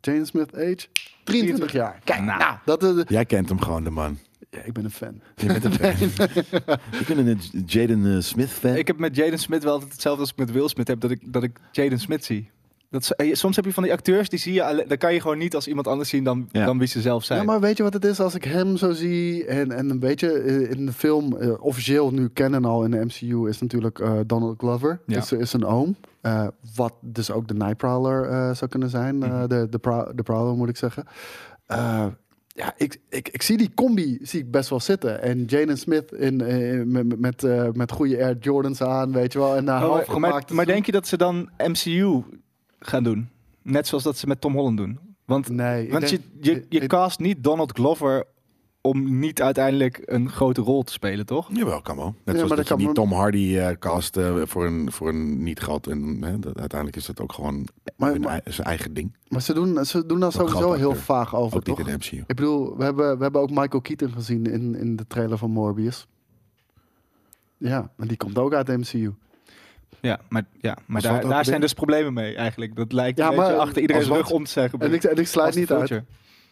Jane Smith age 23 jaar. Kijk,
Nou.
nou, dat is...
Jij kent hem gewoon, de man.
Ja, ik ben een fan.
Je bent een fan. ik ben een J- Jaden eh, Smith fan.
Ik heb met Jaden Smith wel altijd hetzelfde als ik met Will Smith heb. Dat ik, dat ik Jaden Smith zie. Dat, is- eh, soms heb je van die acteurs, die zie je, alle- dan kan je gewoon niet als iemand anders zien dan,
Ja.
dan wie ze zelf zijn.
Ja, maar weet je wat het is als ik hem zo zie? En, en weet je, eh, in de film, eh, officieel nu kennen al in de MCU, is natuurlijk eh, Donald Glover.
Ja.
Is, is een oom. Eh, wat dus ook de Night Prowler eh, zou kunnen zijn. eh,
Mhm.
de, de, Prow- de Prowler moet ik zeggen. Eh, ja, ik, ik, ik zie die combi zie ik best wel zitten. En Jaden Smith in, eh, met, met, eh, met goede Air Jordans aan, weet je wel. En daar
Oh,
half
maar, maar,
gemaakt.
maar denk je dat ze dan MCU gaan doen? Net zoals dat ze met Tom Holland doen. Want,
Nee, ik
want
denk-
je, je, je
ik-
cast niet Donald Glover om niet uiteindelijk een grote rol te spelen, toch?
Jawel, kan wel. Net
Ja,
zoals
maar
dat
dat
je
kan
niet
wel.
Tom Hardy eh, cast eh, voor, een, voor een niet groot. En, hè, dat- uiteindelijk is dat ook gewoon
Maar-
hun
maar-
ei- zijn eigen ding.
Maar ze doen, ze doen daar
Zo'n
sowieso
grote
heel
acteur.
vaag over,
Ook niet
toch?
in de MCU.
Ik bedoel, we hebben, we hebben ook Michael Keaton gezien in, in de trailer van Morbius. Ja, maar die komt ook uit de MCU.
Ja, maar, ja, maar
valt
daar,
ook
daar
weer-
zijn dus problemen mee eigenlijk. Dat lijkt
Ja,
een beetje
maar-
achter iedereen's
als wat?
rug om te zijn gebeurd.
En ik, en ik sluit
Als
niet
de
uit.
vulture.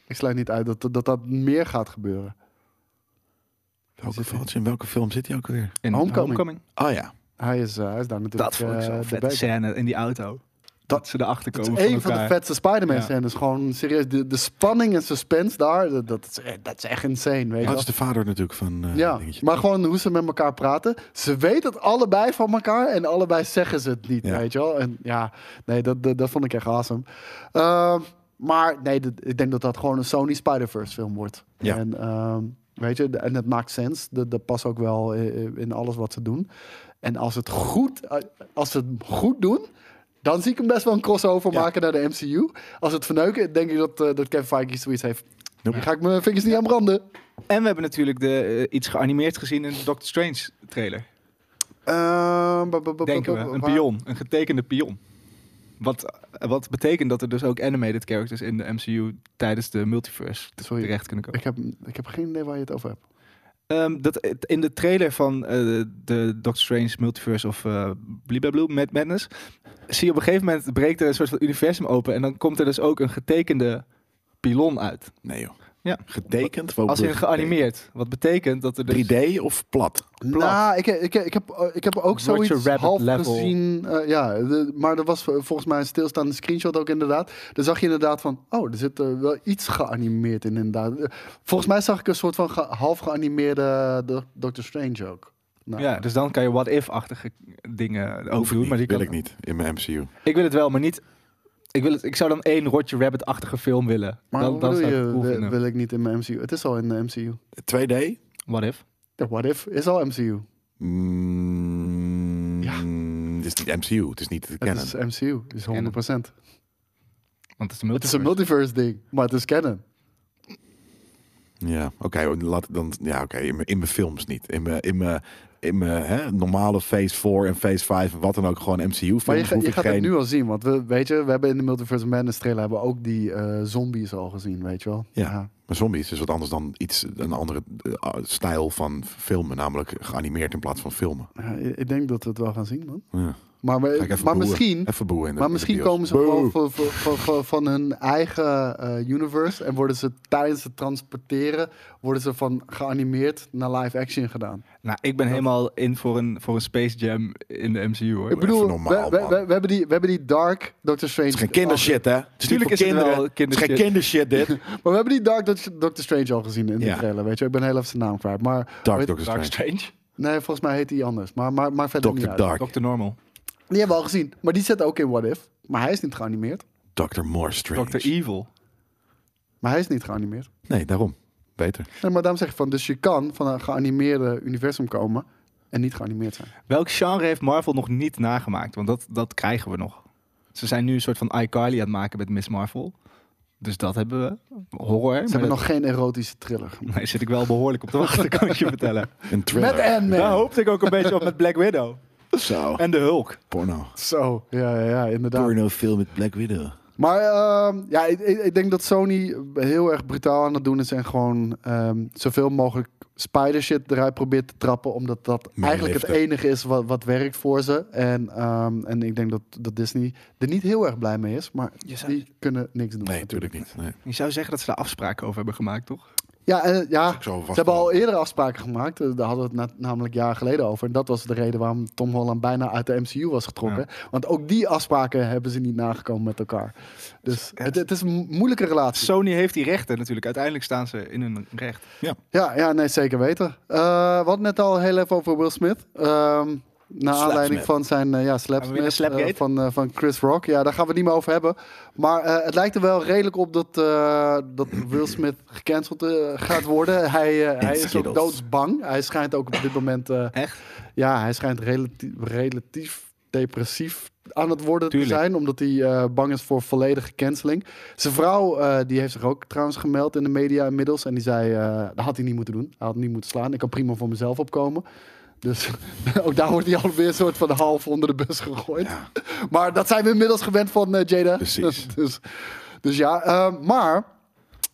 Ik sluit niet uit dat dat, dat, dat meer gaat gebeuren.
Welke, film- in welke film zit hij ook weer?
In
Homecoming.
Oh ja.
Hij is, eh, hij is daar natuurlijk.
Dat vond ik
eh,
zo'n
de
vette
back.
scène in die auto. Dat ze erachter
Dat
komen
is
van
een van de
elkaar.
vetste Spider-Man
Ja.
scènes. Gewoon serieus, de, de spanning en suspense daar, dat, dat, is, eh, dat is echt insane, weet je
Oh, Dat
wel.
is de vader natuurlijk van eh,
Ja,
dingetje.
maar gewoon hoe ze met elkaar praten. Ze weten het allebei van elkaar en allebei zeggen ze het niet,
Ja.
weet je wel. En ja, nee, dat, dat, dat vond ik echt awesome. Ehm, maar nee, dat- ik denk dat dat gewoon een Sony Spider-Verse film wordt.
Ja.
En ehm, weet je, en dat maakt sens. Dat, dat past ook wel eh, eh, in alles wat ze doen. En als, het goed, eh, als ze het goed doen... Dan zie ik hem best wel een crossover
Ja.
maken naar de MCU. Als het verneuken, denk ik dat, eh, dat Kevin Feige zoiets heeft.
Nope.
Hier ga ik mijn vingers niet aan branden.
En we hebben natuurlijk de, eh, iets geanimeerd gezien in de Doctor Strange trailer.
Ehm, ba- ba- ba- ba-
Denken we.
ba-
Een
waar-
pion. Een getekende pion. Wat, eh, wat betekent dat er dus ook animated characters in de MCU tijdens de multiverse t-
Sorry.
terecht kunnen komen.
Ik heb, ik heb geen idee waar je het over hebt.
Ehm, dat, het- in de trailer van eh, de Doctor Strange Multiverse of eh Bliblablub Mad Madness zie je op een gegeven moment breekt er een soort van universum open en dan komt er dus ook een getekende pilon uit.
Nee joh.
Ja.
Getekend? Wat
Als in
bedoel je
geanimeerd. Wat betekent dat er dus...
getekend? 3D of plat?
Nou, ik, ik, ik, heb, eh, ik heb ook
Roger
zoiets
Rabbit
half
level.
gezien. eh, ja, de- maar er was v- volgens mij een stilstaande screenshot ook inderdaad. Daar zag je inderdaad van, oh, er zit eh, wel iets geanimeerd in inderdaad. Eh, Volgens mij zag ik een soort van ge- half geanimeerde eh, Do- Doctor Strange ook. Nou,
Ja, dus dan kan je what if-achtige dingen
Hoef ik
overdoen.
niet.
Maar die
wil
kan-
ik niet in mijn MCU.
Ik wil het wel, maar niet. Ik, wil het, ik zou dan één Roger Rabbit-achtige film willen.
maar
dan
wat
dan
bedoel
zou ik
je,
het cool
wi-
vinden.
wil ik niet in mijn MCU? Het is al in de MCU.
2D?
What if?
Ja, what if is al MCU.
Mm,
Ja.
Het is niet MCU. Het is niet te
Het
kennen.
is MCU, het is 100%.
Want het is een
Het is
multiverse.
een multiverse ding, maar het is canon.
Ja, oké. oh, laat dan, ja, oké. in mijn- in mijn films niet. In mijn, in mijn, in mijn hè, normale Phase 4 en Phase 5 en wat dan ook. Gewoon MCU-films.
Maar je, ga-
hoef
je
ik
gaat
geen...
het nu al zien, want we, weet je, we hebben in de Multiverse of Madness trailer hebben we ook die eh, zombies al gezien, weet je wel.
Ja. Maar zombies is wat anders dan iets, een andere eh, stijl van filmen. Namelijk geanimeerd in plaats van filmen.
Ja, ik ik denk dat we het wel gaan zien, man.
Ja.
Maar, maar,
Ga ik even
Eh, maar
boeien.
misschien,
Even boeien in de- in
maar
de
misschien
bios.
komen ze
Boe.
gewoon van, van, van, van, van hun eigen eh, universe en worden ze tijdens het transporteren worden ze van geanimeerd naar live action gedaan.
Nou, ik ben helemaal in voor een, voor een Space Jam in de MCU hoor.
Ik bedoel,
normaal,
we, we,
man.
we- we hebben die, we hebben die Dark Doctor Strange.
Het is geen kindershit, hè? Het is niet
Tuurlijk
voor
is het wel
kinderen. Het is geen kindershit, dit.
Maar we hebben die Dark Doc- Doctor Strange al gezien in de
Ja.
trailer, weet je. Ik ben heel even zijn naam kwijt. Maar
Dark
weet-
Doctor
Dark
Strange.
Strange.
Nee, volgens mij heet hij anders. Maar, maar, maar verder niet
Dr.
uit.
Dark.
Dr. Normal.
Die hebben we al gezien. Maar die zit ook in What If. Maar hij is niet geanimeerd.
Dr. More Strange.
Dr. Evil.
Maar hij is niet geanimeerd.
Nee, daarom. Beter.
Nee, maar daarom zeg ik van... Dus je kan van een geanimeerde universum komen... en niet geanimeerd zijn.
Welk genre heeft Marvel nog niet nagemaakt? Want dat, dat krijgen we nog. Ze zijn nu een soort van iCarly aan het maken met Miss Marvel. Dus dat hebben we. Horror.
Ze hebben nog geen erotische thriller. gemaakt.
Nee, zit ik wel behoorlijk op te wachten, kan ik je vertellen.
Een
Met
thriller.
Ant-Man.
Daar hoopte ik ook een beetje op met Black Widow.
Zo.
En de Hulk.
Porno.
Zo, ja, ja, ja inderdaad.
film met Black Widow.
Maar ehm, ja, ik, ik, ik denk dat Sony heel erg brutaal aan het doen is... en gewoon ehm, zoveel mogelijk spider-shit eruit probeert te trappen... omdat dat
Meer
eigenlijk het
liefde.
enige is wat, wat werkt voor ze. En, ehm, en ik denk dat, dat Disney er niet heel erg blij mee is... maar
Je zou,
die kunnen niks doen.
Nee, natuurlijk niet. Nee.
je zou zeggen dat ze daar afspraken over hebben gemaakt, toch?
Ja, en, ja
Dus Ik zou
ze
vast
hebben al
wel-
eerder afspraken gemaakt. Eh, Daar hadden we het na- namelijk jaren geleden over. En dat was de reden waarom Tom Holland bijna uit de MCU was getrokken. Want ook die afspraken hebben ze niet nagekomen met elkaar. Dus het, het is een moeilijke relatie.
Sony heeft die rechten natuurlijk. Uiteindelijk staan ze in hun recht.
Ja, ja nee, zeker weten. Eh, we hadden het al heel even over Will Smith. Ehm naar
Slapsmith.
aanleiding van zijn eh, ja,
we weer naar
slapsmith
Slapgate?
eh, van, eh, van Chris Rock. Ja, daar gaan we het niet meer over hebben. Maar eh, het lijkt er wel redelijk op dat, eh, dat Will Smith gecanceld eh, gaat worden. Hij, eh, hij is ook
Skittles.
doodsbang. Hij schijnt ook op dit moment... eh,
Echt?
Ja, hij schijnt relatief, relatief depressief aan het worden te
Tuurlijk.
zijn, omdat hij eh, bang is voor volledige canceling. Zijn vrouw eh, die heeft zich ook trouwens gemeld in de media inmiddels en die zei, eh, dat had hij niet moeten doen. Hij had niet moeten slaan. Ik kan prima voor mezelf opkomen. Dus ook daar wordt hij alweer een soort van half onder de bus gegooid.
Ja.
Maar dat zijn we inmiddels gewend van eh, Jada.
Precies.
dus, dus ja, eh, maar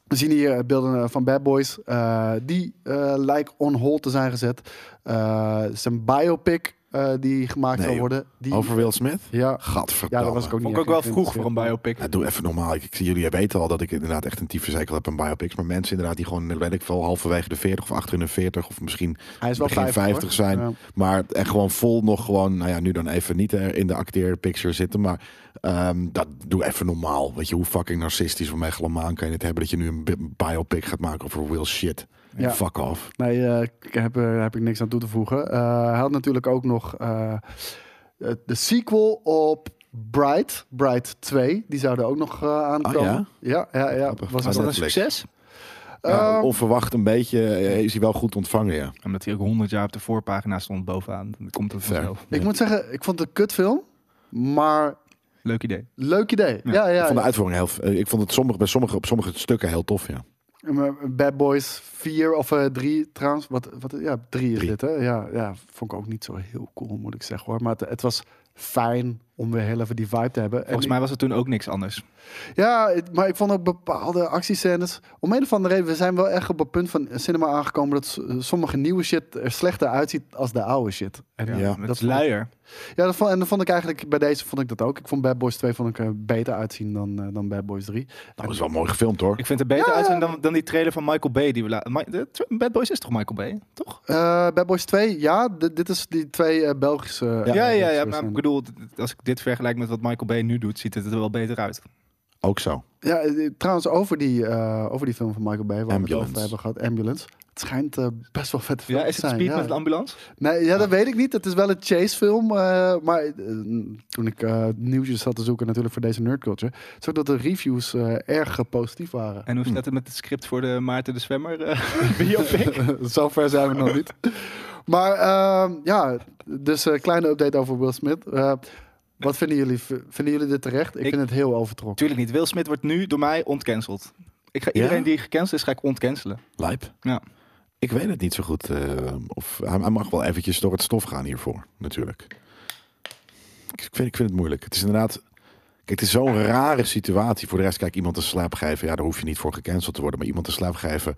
we zien hier beelden eh, van Bad Boys. eh, die eh lijken on hold te zijn gezet. Eh, zijn biopic eh, die gemaakt
Nee,
zal
joh.
worden. Die,
Over Will Smith?
Ja, ja,
Gadverdamme.
dat was ik ook niet.
Vond ik ook wel
echt
vroeg voor een biopic.
Ja, doe even normaal. Ik, ik zie jullie weten al dat ik inderdaad echt een tyfverzekel heb aan biopics. Maar mensen inderdaad die gewoon, weet ik veel, halverwege de 40 of achter in de 40 of misschien
Hij is wel
begin
50,
50
hoor.
zijn.
Ja.
Maar en gewoon vol nog gewoon, nou ja, nu dan even niet eh, in de acteerpicture zitten. Maar ehm, dat doe even normaal. Weet je, hoe fucking narcistisch of megalomaan kan je het hebben dat je nu een bi- biopic gaat maken over Will shit.
Ja.
Fuck off.
Nee, eh, ik heb, eh, heb ik niks aan toe te voegen. Eh, hij had natuurlijk ook nog eh, eh, de sequel op Bright, Bright 2. Die zouden ook nog eh, aankomen.
Ah, ja?
ja, ja, ja.
Grappig.
Was
Was
wel-
dat- Netflix.
Ehm,
Ja, onverwacht een beetje eh, is hij wel goed ontvangen, ja.
Omdat hij ook honderd jaar op de voorpagina stond bovenaan. Dan komt het
Fair.
vanzelf.
Ik moet zeggen, ik vond het een kutfilm, maar
Leuk idee.
leuk idee.
Ja,
Ja, ja,
ik
ja,
vond de uitvoering heel... f- eh, Ik vond het sommige, bij sommige, op sommige stukken heel tof, ja.
Eh, Maar Bad Boys 4 of eh 3 trouwens. Wat, wat, ja, 3 is
Drie.
dit hè. Ja, ja, vond ik ook niet zo heel cool moet ik zeggen hoor. Maar het, het was fijn om weer heel even die vibe te hebben. En
Volgens
ik-
mij was het toen ook niks anders.
Ja, het- maar ik vond ook bepaalde actiescènes. Om een of andere reden, we zijn wel echt op het punt van cinema aangekomen dat s- sommige nieuwe shit er slechter uitziet als de oude shit. En
Ja,
Ja, dat
dat
is luier.
ja, dat vond, en dat vond ik eigenlijk bij deze vond ik dat ook. Ik vond Bad Boys 2 vond ik, er beter uitzien dan, eh, dan Bad Boys 3.
Nou, dat is wel mooi gefilmd hoor.
Ik vind het beter uitzien dan, dan die trailer van Michael Bay. Die we la- Ma- de tra- Bad Boys is toch Michael Bay? Toch?
Eh, Bad Boys 2, ja, d- dit is die twee eh, Belgische.
Ja,
eh,
ja, ja.
regisseurs
maar
zijn.
ik bedoel, d- als ik dit vergelijk met wat Michael Bay nu doet, ziet het er wel beter uit.
Ook zo.
Ja, eh, trouwens, over die, eh, over die film van Michael Bay, waar we het
Ambulance.
over hebben gehad, Ambulance. Het schijnt eh, best wel vet film
Ja, is
te
het
zijn.
Speed
ja.
met Ah. een ambulance?
Nee, ja, dat weet ik niet. Het is wel een chase-film. eh, maar eh, toen ik eh, nieuwtjes zat te zoeken, natuurlijk voor deze nerdculture, zag ik dat de reviews eh, erg eh, positief waren.
En hoe
Hm.
staat het met het script voor de Maarten de Zwemmer eh biopic?
Zover zijn we nog niet. Maar ehm, ja, dus een kleine update over Will Smith. Eh, wat vinden jullie? V- Vinden jullie dit terecht? Ik,
Ik-
vind het heel overtrokken.
Tuurlijk niet. Will Smith wordt nu door mij ontcanceld. Ik ga iedereen
Ja?
die gecanceld is, ga ik ontcancelen.
Lijp.
Ja.
Ik weet het niet zo goed. eh, of hij, hij mag wel eventjes door het stof gaan hiervoor, natuurlijk. Ik ik vind, ik vind het moeilijk. Het is inderdaad... Kijk, het is zo'n rare situatie. Voor de rest, kijk, iemand een slaap geven. Ja, daar hoef je niet voor gecanceld te worden. Maar iemand een slaap geven,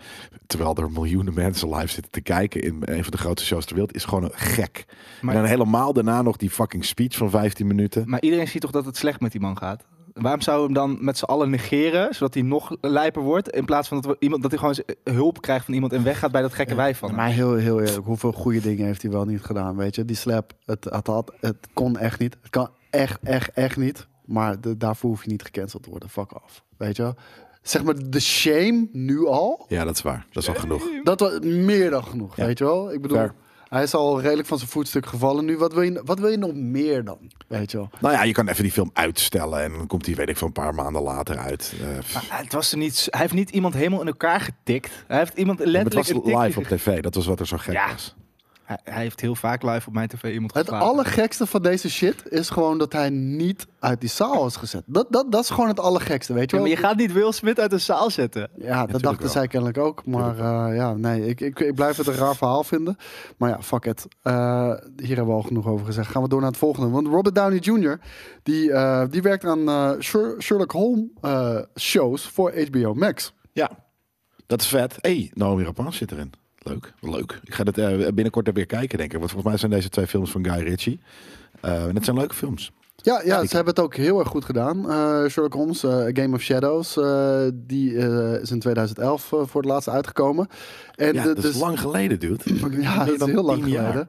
terwijl er miljoenen mensen live zitten te kijken... in een van de grootste shows ter wereld, is gewoon een gek.
Maar-
en dan helemaal daarna nog die fucking speech van 15 minuten.
Maar iedereen ziet toch dat het slecht met die man gaat? Waarom zouden we hem dan met z'n allen negeren, zodat hij nog lijper wordt? In plaats van dat, we iemand, dat hij gewoon eens, eh, hulp krijgt van iemand en weggaat bij dat gekke wijf van hem.
Maar heel, heel eerlijk, hoeveel goede dingen heeft hij wel niet gedaan, weet je? Die slap, het, het, had, het kon echt niet. Het kan echt, echt, echt niet. Maar de- daarvoor hoef je niet gecanceld te worden. Fuck off, weet je wel? Zeg maar, de shame nu al,
Ja, dat is waar. Dat is
Eh,
al genoeg.
dat was meer dan genoeg,
Ja.
weet je wel? Ik bedoel,
Fair.
hij is al redelijk van zijn voetstuk gevallen nu. Wat wil, je, wat wil je nog meer dan, weet je wel?
Nou ja, je kan even die film uitstellen en dan komt die, weet ik, van een paar maanden later uit. Eh, pff.
Maar Ah, het was er niet, hij heeft niet iemand helemaal in elkaar getikt. Hij heeft iemand
Maar het
letterlijk
was
een tikje
live op
ge-
tv, dat was wat er zo gek
Ja.
was.
hij, hij heeft heel vaak live op mijn tv iemand
Het
geslagen.
allergekste van deze shit is gewoon dat hij niet uit die zaal is gezet. Dat, dat, dat is gewoon het allergekste, weet je
Ja,
wel?
maar je gaat niet Will Smith uit de zaal zetten.
Ja, dat
tuurlijk
dachten
wel.
zij kennelijk ook. Maar eh, ja, nee, ik, ik, ik blijf het een raar verhaal vinden. Maar ja, fuck it. Eh, hier hebben we al genoeg over gezegd. Gaan we door naar het volgende. Want Robert Downey Jr., die, eh, die werkt aan eh, Sher- Sherlock Holmes eh, shows voor HBO Max.
Ja, dat is vet. Hé, hey, Naomi Rapaz zit erin. Leuk, leuk. Ik ga dat eh, binnenkort er weer kijken, denk ik. Want volgens mij zijn deze twee films van Guy Ritchie. Eh, en het zijn leuke films.
Ja, ja ze hebben het ook heel erg goed gedaan. Eh, Sherlock Holmes, eh, A Game of Shadows, eh, die eh, is in 2011 eh, voor het laatst uitgekomen. En
ja,
de-
dat is
dus-
lang geleden, dude.
Ja, dat
dan
is heel lang
10 jaar.
geleden.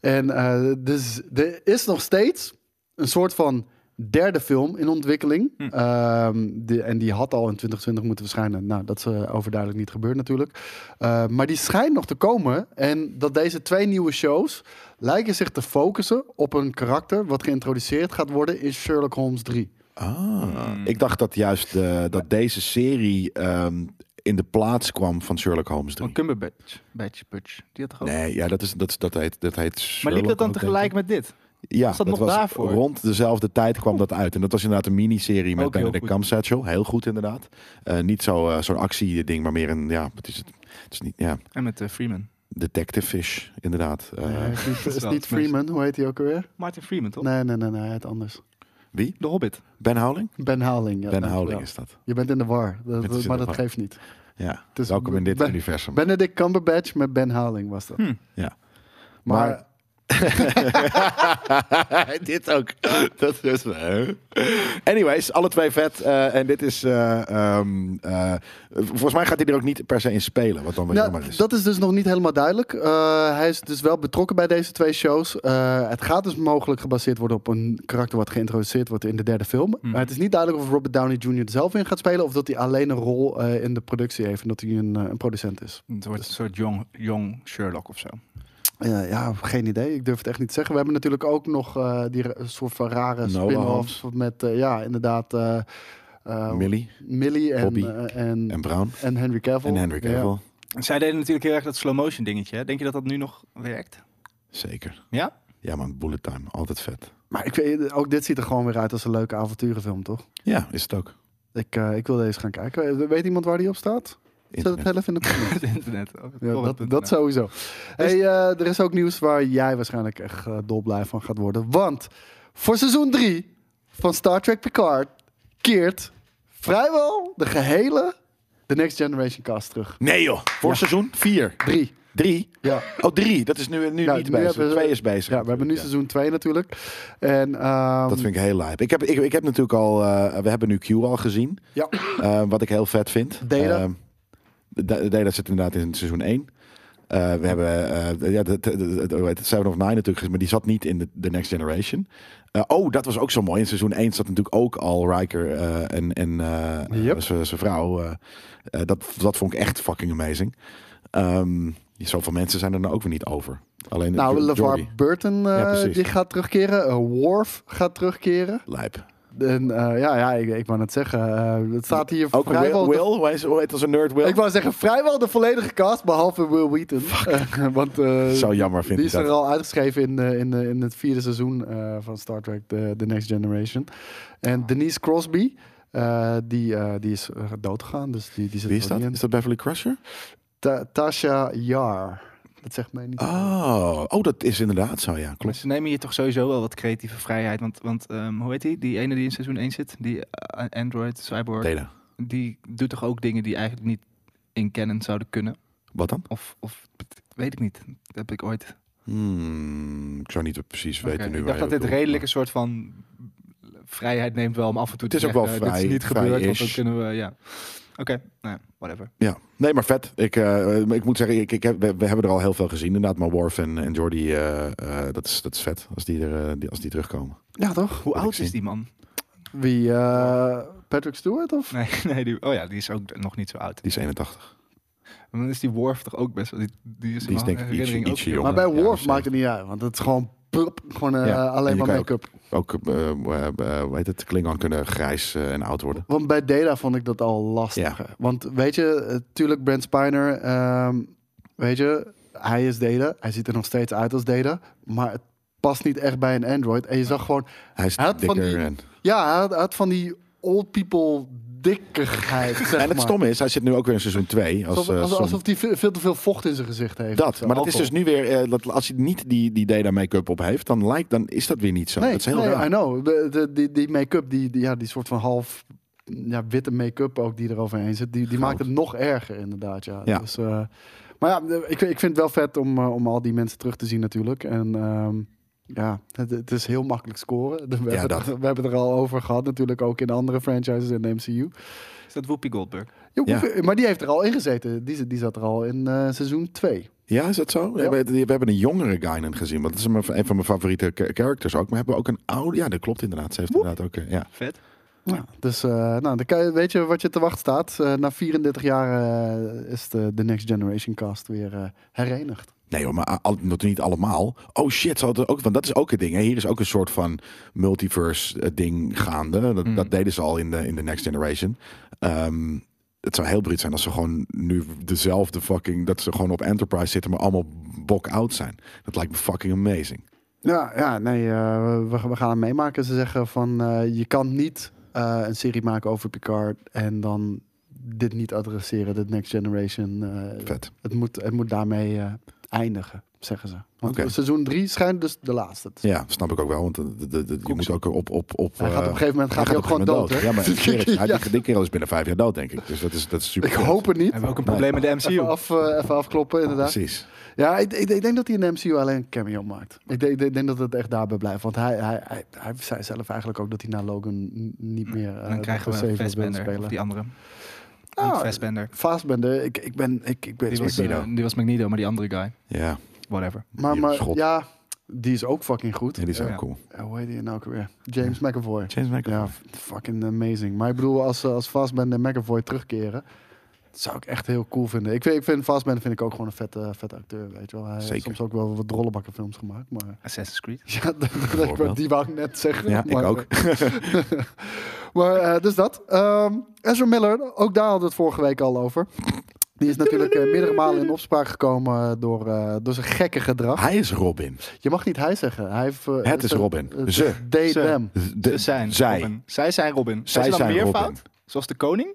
En eh, dus er is nog steeds een soort van derde film in ontwikkeling.
Hm.
Ehm, die- en die had al in 2020 moeten verschijnen. Nou, dat is eh, overduidelijk niet gebeurd natuurlijk. Eh, maar die schijnt nog te komen. En dat deze twee nieuwe shows lijken zich te focussen op een karakter... wat geïntroduceerd gaat worden in Sherlock Holmes 3.
Ah,
Hmm.
ik dacht dat juist eh, dat deze serie ehm, in de plaats kwam van Sherlock Holmes 3.
Van Cumberbatch. Batch, Butch. Die had toch ook...
Nee, ja, dat, is, dat, dat heet, dat heet
maar liep
Sherlock,
dat dan
ook, denk ik.
tegelijk met dit?
Ja,
Is dat nog
was
daarvoor?
rond dezelfde tijd kwam dat uit. En dat was inderdaad een miniserie met
Ook heel
Benedict
goed.
Cumberbatch. Heel goed inderdaad. Eh, niet zo, eh, zo'n actieding, maar meer een... Ja, het is, het is niet... Ja,
En met eh, Freeman.
detective fish, inderdaad. Eh,
Nee, het is niet,
is
is
wel
niet
het meest-
Freeman, hoe heet hij ook alweer?
Martin Freeman, toch?
Nee, nee, nee, nee, het anders.
Wie?
De Hobbit.
Ben Howling?
Ben Howling. ja,
ben
dankjewel.
Howling is dat.
Je bent in de war, dat-
Het is in
maar
de
dat
war.
geeft niet.
Ja,
is
welkom in dit
Ben-
universum.
Benedict Cumberbatch met Ben Haling was
Hm,
dat.
ja.
Maar,
Maar- dit ook. dat is wel. Anyways, alle twee vet. Eh, en dit is... eh, ehm, eh, volgens mij gaat hij er ook niet per se in spelen. Wat dan weer
nou,
jammer is.
dat is dus nog niet helemaal duidelijk. Eh, hij is dus wel betrokken bij deze twee shows. Eh, het gaat dus mogelijk gebaseerd worden op een karakter wat geïntroduceerd wordt in de derde film.
Hm.
Maar het is niet duidelijk of Robert Downey Jr. er zelf in gaat spelen of dat hij alleen een rol eh, in de productie heeft en dat hij een, eh, een producent is.
Het wordt een soort jong, jong Sherlock of zo.
Eh, ja, geen idee. Ik durf het echt niet te zeggen. We hebben natuurlijk ook nog eh, die ra- soort van rare
Noah
spin-off met, eh, ja, inderdaad, eh, eh,
Millie
Millie en,
Bobby.
eh, en,
en
en,
Brown.
Henry Cavill.
En Henry
Ja.
Cavill.
Zij deden natuurlijk heel erg dat slow motion dingetje. hè? Denk je dat dat nu nog werkt?
Zeker.
Ja?
Ja, man, Bullet Time. Altijd vet.
Maar ik weet, eh, ook dit ziet er gewoon weer uit als een leuke avonturenfilm, toch?
Ja, is het ook.
Ik, eh, ik wil deze gaan kijken. Weet iemand waar die op staat? Zet het
Internet.
heel even in de comments.
Het internet. Oh, oh,
Ja,
het
dat, dat
internet.
sowieso. Hey, eh, er is ook nieuws waar jij waarschijnlijk echt eh, dolblij van gaat worden. Want voor seizoen 3 van Star Trek Picard keert vrijwel de gehele The Next Generation cast terug.
Nee joh, voor seizoen 4.
Drie.
Drie?
Ja.
Oh, drie. Dat is nu, nu
Ja,
niet
nu
bezig.
hebben Nou, we-
Twee is bezig.
Ja, we hebben nu
natuurlijk,
seizoen 2 natuurlijk. En, ehm,
Dat vind ik heel lijp. Ik heb, ik, ik heb natuurlijk al... eh, we hebben nu Q al gezien.
Ja.
Eh, wat ik heel vet vind.
Data.
Ehm, de- de Data zit inderdaad in seizoen 1. we hebben eh, ja, de, de, de- de- hoe heet het? Seven of Nine natuurlijk, gezien, maar die zat niet in de, de Next Generation. Eh, oh, dat was ook zo mooi. In seizoen 1 zat natuurlijk ook al Riker eh, en, en eh,
Yep.
zijn zijn vrouw. eh, eh, dat, dat vond ik echt fucking amazing. Ehm, zoveel mensen zijn er nou ook weer niet over. Alleen
nou,
Jo-
LeVar
Jordi.
Burton eh,
Ja, precies.
die gaat terugkeren. Eh, Worf gaat terugkeren.
Lijp.
En eh, ja, ja ik, ik wou net zeggen, eh, het staat hier
Ook Will,
vrijwel... de-
Will, hij is- hoe heet dat, zo'n nerd Will?
ik wou zeggen, vrijwel de volledige cast, behalve Will Wheaton. Want eh,
Zo jammer vind
die
ik
is
dat.
er al uitgeschreven in, eh, in, eh, in het vierde seizoen eh, van Star Trek The, The Next Generation. En Denise Crosby, eh, die, eh, die is eh, dood gegaan. Dus die, die zit
Wie is
er ook
dat?
niet in.
Is dat Beverly Crusher?
Ta- Tasha Yar. Dat zegt mij niet.
Oh, oh dat is inderdaad zo, ja.
Maar
Klopt.
ze nemen hier toch sowieso wel wat creatieve vrijheid. Want, want ehm, hoe heet die? Die ene die in seizoen 1 zit, die eh, Android Cyborg,
Data.
die doet toch ook dingen die eigenlijk niet in canon zouden kunnen?
Wat dan?
Of, of weet ik niet. Dat heb ik ooit.
Hmm, ik zou niet precies weten
Oké,
nu waar
ik dacht
je
dat dit
bedoelt,
redelijk een soort van vrijheid neemt wel om af en toe te
Het is ook
zeggen,
wel
eh, Dit
vrij-
is niet gebeurd, want dan
vrij-ish.
kunnen we, ja. Oké, nou ja, whatever.
maar- Ja, nee, maar vet. Ik, eh, ik moet zeggen, ik, ik heb, we, we hebben er al heel veel gezien inderdaad. Maar Worf en, en Jordi, eh, eh, dat, is, dat is vet als die, er, eh, die, als die terugkomen.
Ja, toch?
Hoe
ik
oud
zie.
is die man?
Wie? eh, Patrick Stewart of?
Nee, nee die, oh ja, die is ook nog niet zo oud.
Die is 81.
Maar Dan is die Worf toch ook best wel... Die, die is,
Die is denk ik
herinnering
ietsje-
ook
ietsje
heel
jonger.
Maar
jong.
bij
Ja,
Worf
precies.
maakt het niet uit, want het is gewoon, plup, gewoon eh,
Ja, en
alleen
je
maar
kan
make-up.
Ook, eh, eh, eh, hoe heet het, Klingon kunnen grijs eh, en oud worden.
Want bij Data vond ik dat al lastig. Want weet je, eh, tuurlijk Brent Spiner, ehm, weet je, hij is Data. Hij ziet er nog steeds uit als Data. Maar het past niet echt bij een Android. En je zag gewoon,
Hij is
Hij had van
dikker.
die-
en
ja, hij had, hij had van die old people dikkigheid, zeg
en het
maar.
stomme is, hij zit nu ook weer in seizoen 2. Als,
Alsof,
eh,
alsof,
Son-
alsof hij veel, veel te veel vocht in zijn gezicht heeft.
Dat,
Zo,
maar dat is
alcohol.
dus nu weer, eh, dat, als hij niet die, die data make-up op heeft, dan, lijkt, dan is dat weer niet zo. dat is heel
nee,
raar.
I know. De, de- die die make-up, die, die, ja, die soort van half ja, witte make-up ook die er overheen zit, die, die maakt het nog erger inderdaad. Ja.
Ja.
Dus, eh, maar ja, ik, ik vind het wel vet om, eh, om al die mensen terug te zien natuurlijk. En ehm, ja, het, het is heel makkelijk scoren. We, hebben
dat.
het, we hebben het er al over gehad natuurlijk, ook in andere franchises in de MCU.
Is dat Whoopi Goldberg?
Jo,
Ja.
hoeveel- Maar die heeft er al in gezeten. Die, zit- die zat er al in eh, seizoen 2.
Ja, is dat zo?
Ja.
We, we hebben een jongere Guinan gezien. Want dat is een, een van mijn favoriete cha- characters ook. Maar hebben we ook een oude... Ja, dat klopt inderdaad. Ze heeft inderdaad ook... eh, Ja.
Vet.
Ja, dus eh, nou, dan kan je- weet je wat je te wachten staat. Eh, na 34 jaar eh, is de, de Next Generation cast weer eh, herenigd.
Nee hoor, maar a- al, nog niet allemaal. Oh shit, ze hadden ook... Want dat is ook een ding. Hè. Hier is ook een soort van multiverse eh, ding gaande.
Hmm.
Dat, dat deden ze al in de, in de Next Generation. Ehm, het zou heel breed zijn als ze gewoon nu dezelfde fucking... Dat ze gewoon op Enterprise zitten, maar allemaal bok-out zijn. Dat lijkt me fucking amazing.
Ja, ja nee, eh, we, we gaan het meemaken. Ze zeggen van eh, je kan niet eh, een serie maken over Picard en dan dit niet adresseren, de Next Generation. eh,
Vet.
het, moet, het moet daarmee eh, eindigen, zeggen ze. Want
Oké.
seizoen 3 schijnt dus de laatste. te zijn.
Ja, snap ik ook wel. Want de, de- de- de- je
Koeks.
moet ook op... op, op
Hij gaat op
eh,
een gegeven moment gaat hij ook
op
gewoon
een
dood.
gegeven
hè?
moment Ja, maar die kerel- hij-
Ja.
die- die kerel is binnen vijf jaar dood, denk ik. Dus dat is, dat is super.
Ik hoop het niet.
Hebben we ook een probleem met de
Even,
MCU?
af, eh, even afkloppen, inderdaad.
Precies.
Ja, ik, ik, ik denk dat hij in de MCU alleen een cameo maakt. Ik denk, ik denk dat het echt daarbij blijft. Want hij, hij, hij, hij zei zelf eigenlijk ook dat hij na Logan n- niet meer... eh,
dan krijgen
Dr.
we
Sable
een
wil
Fassbender, of die andere.
Ah,
Niet Fassbender.
Fassbender, ik, ik ben... Ik, ik ben
Die was,
Magneto.
eh, die was Magneto, maar die andere guy.
Ja,
Whatever.
maar
die
maar
schot.
ja, die is ook fucking goed.
ja, die is ook
Ja.
cool.
Eh, hoe heet die nou ook weer? James McAvoy.
James
Ja, f- fucking amazing. Maar ik bedoel, als, eh, als Fassbender en McAvoy terugkeren... Dat zou ik echt heel cool vinden. Ik, vind- ik vind Fassbender vind ik ook gewoon een vette, vette acteur, weet je wel. Hij heeft
Zeker.
soms ook wel wat drollebakkenfilms gemaakt, maar...
Assassin's Creed.
Ja, dat- dat-
Bijvoorbeeld.
die wou ik net zeggen.
Ja, ik
maar-
ook.
maar eh, dus dat. Ehm Ezra Miller, ook daar hadden we het vorige week al over. Die is natuurlijk eh, meerdere malen in opspraak gekomen eh, door, eh, door zijn gekke gedrag.
Hij is Robin.
Je mag niet hij zeggen. Hij heeft, eh,
Het is
eh,
Robin.
eh,
Ze.
They,
Ze.
them.
De-
Ze zijn
zij.
Robin. Zij zijn Robin.
Zij
Zij zijn
zijn Robin.
meervoud? Zoals de koning?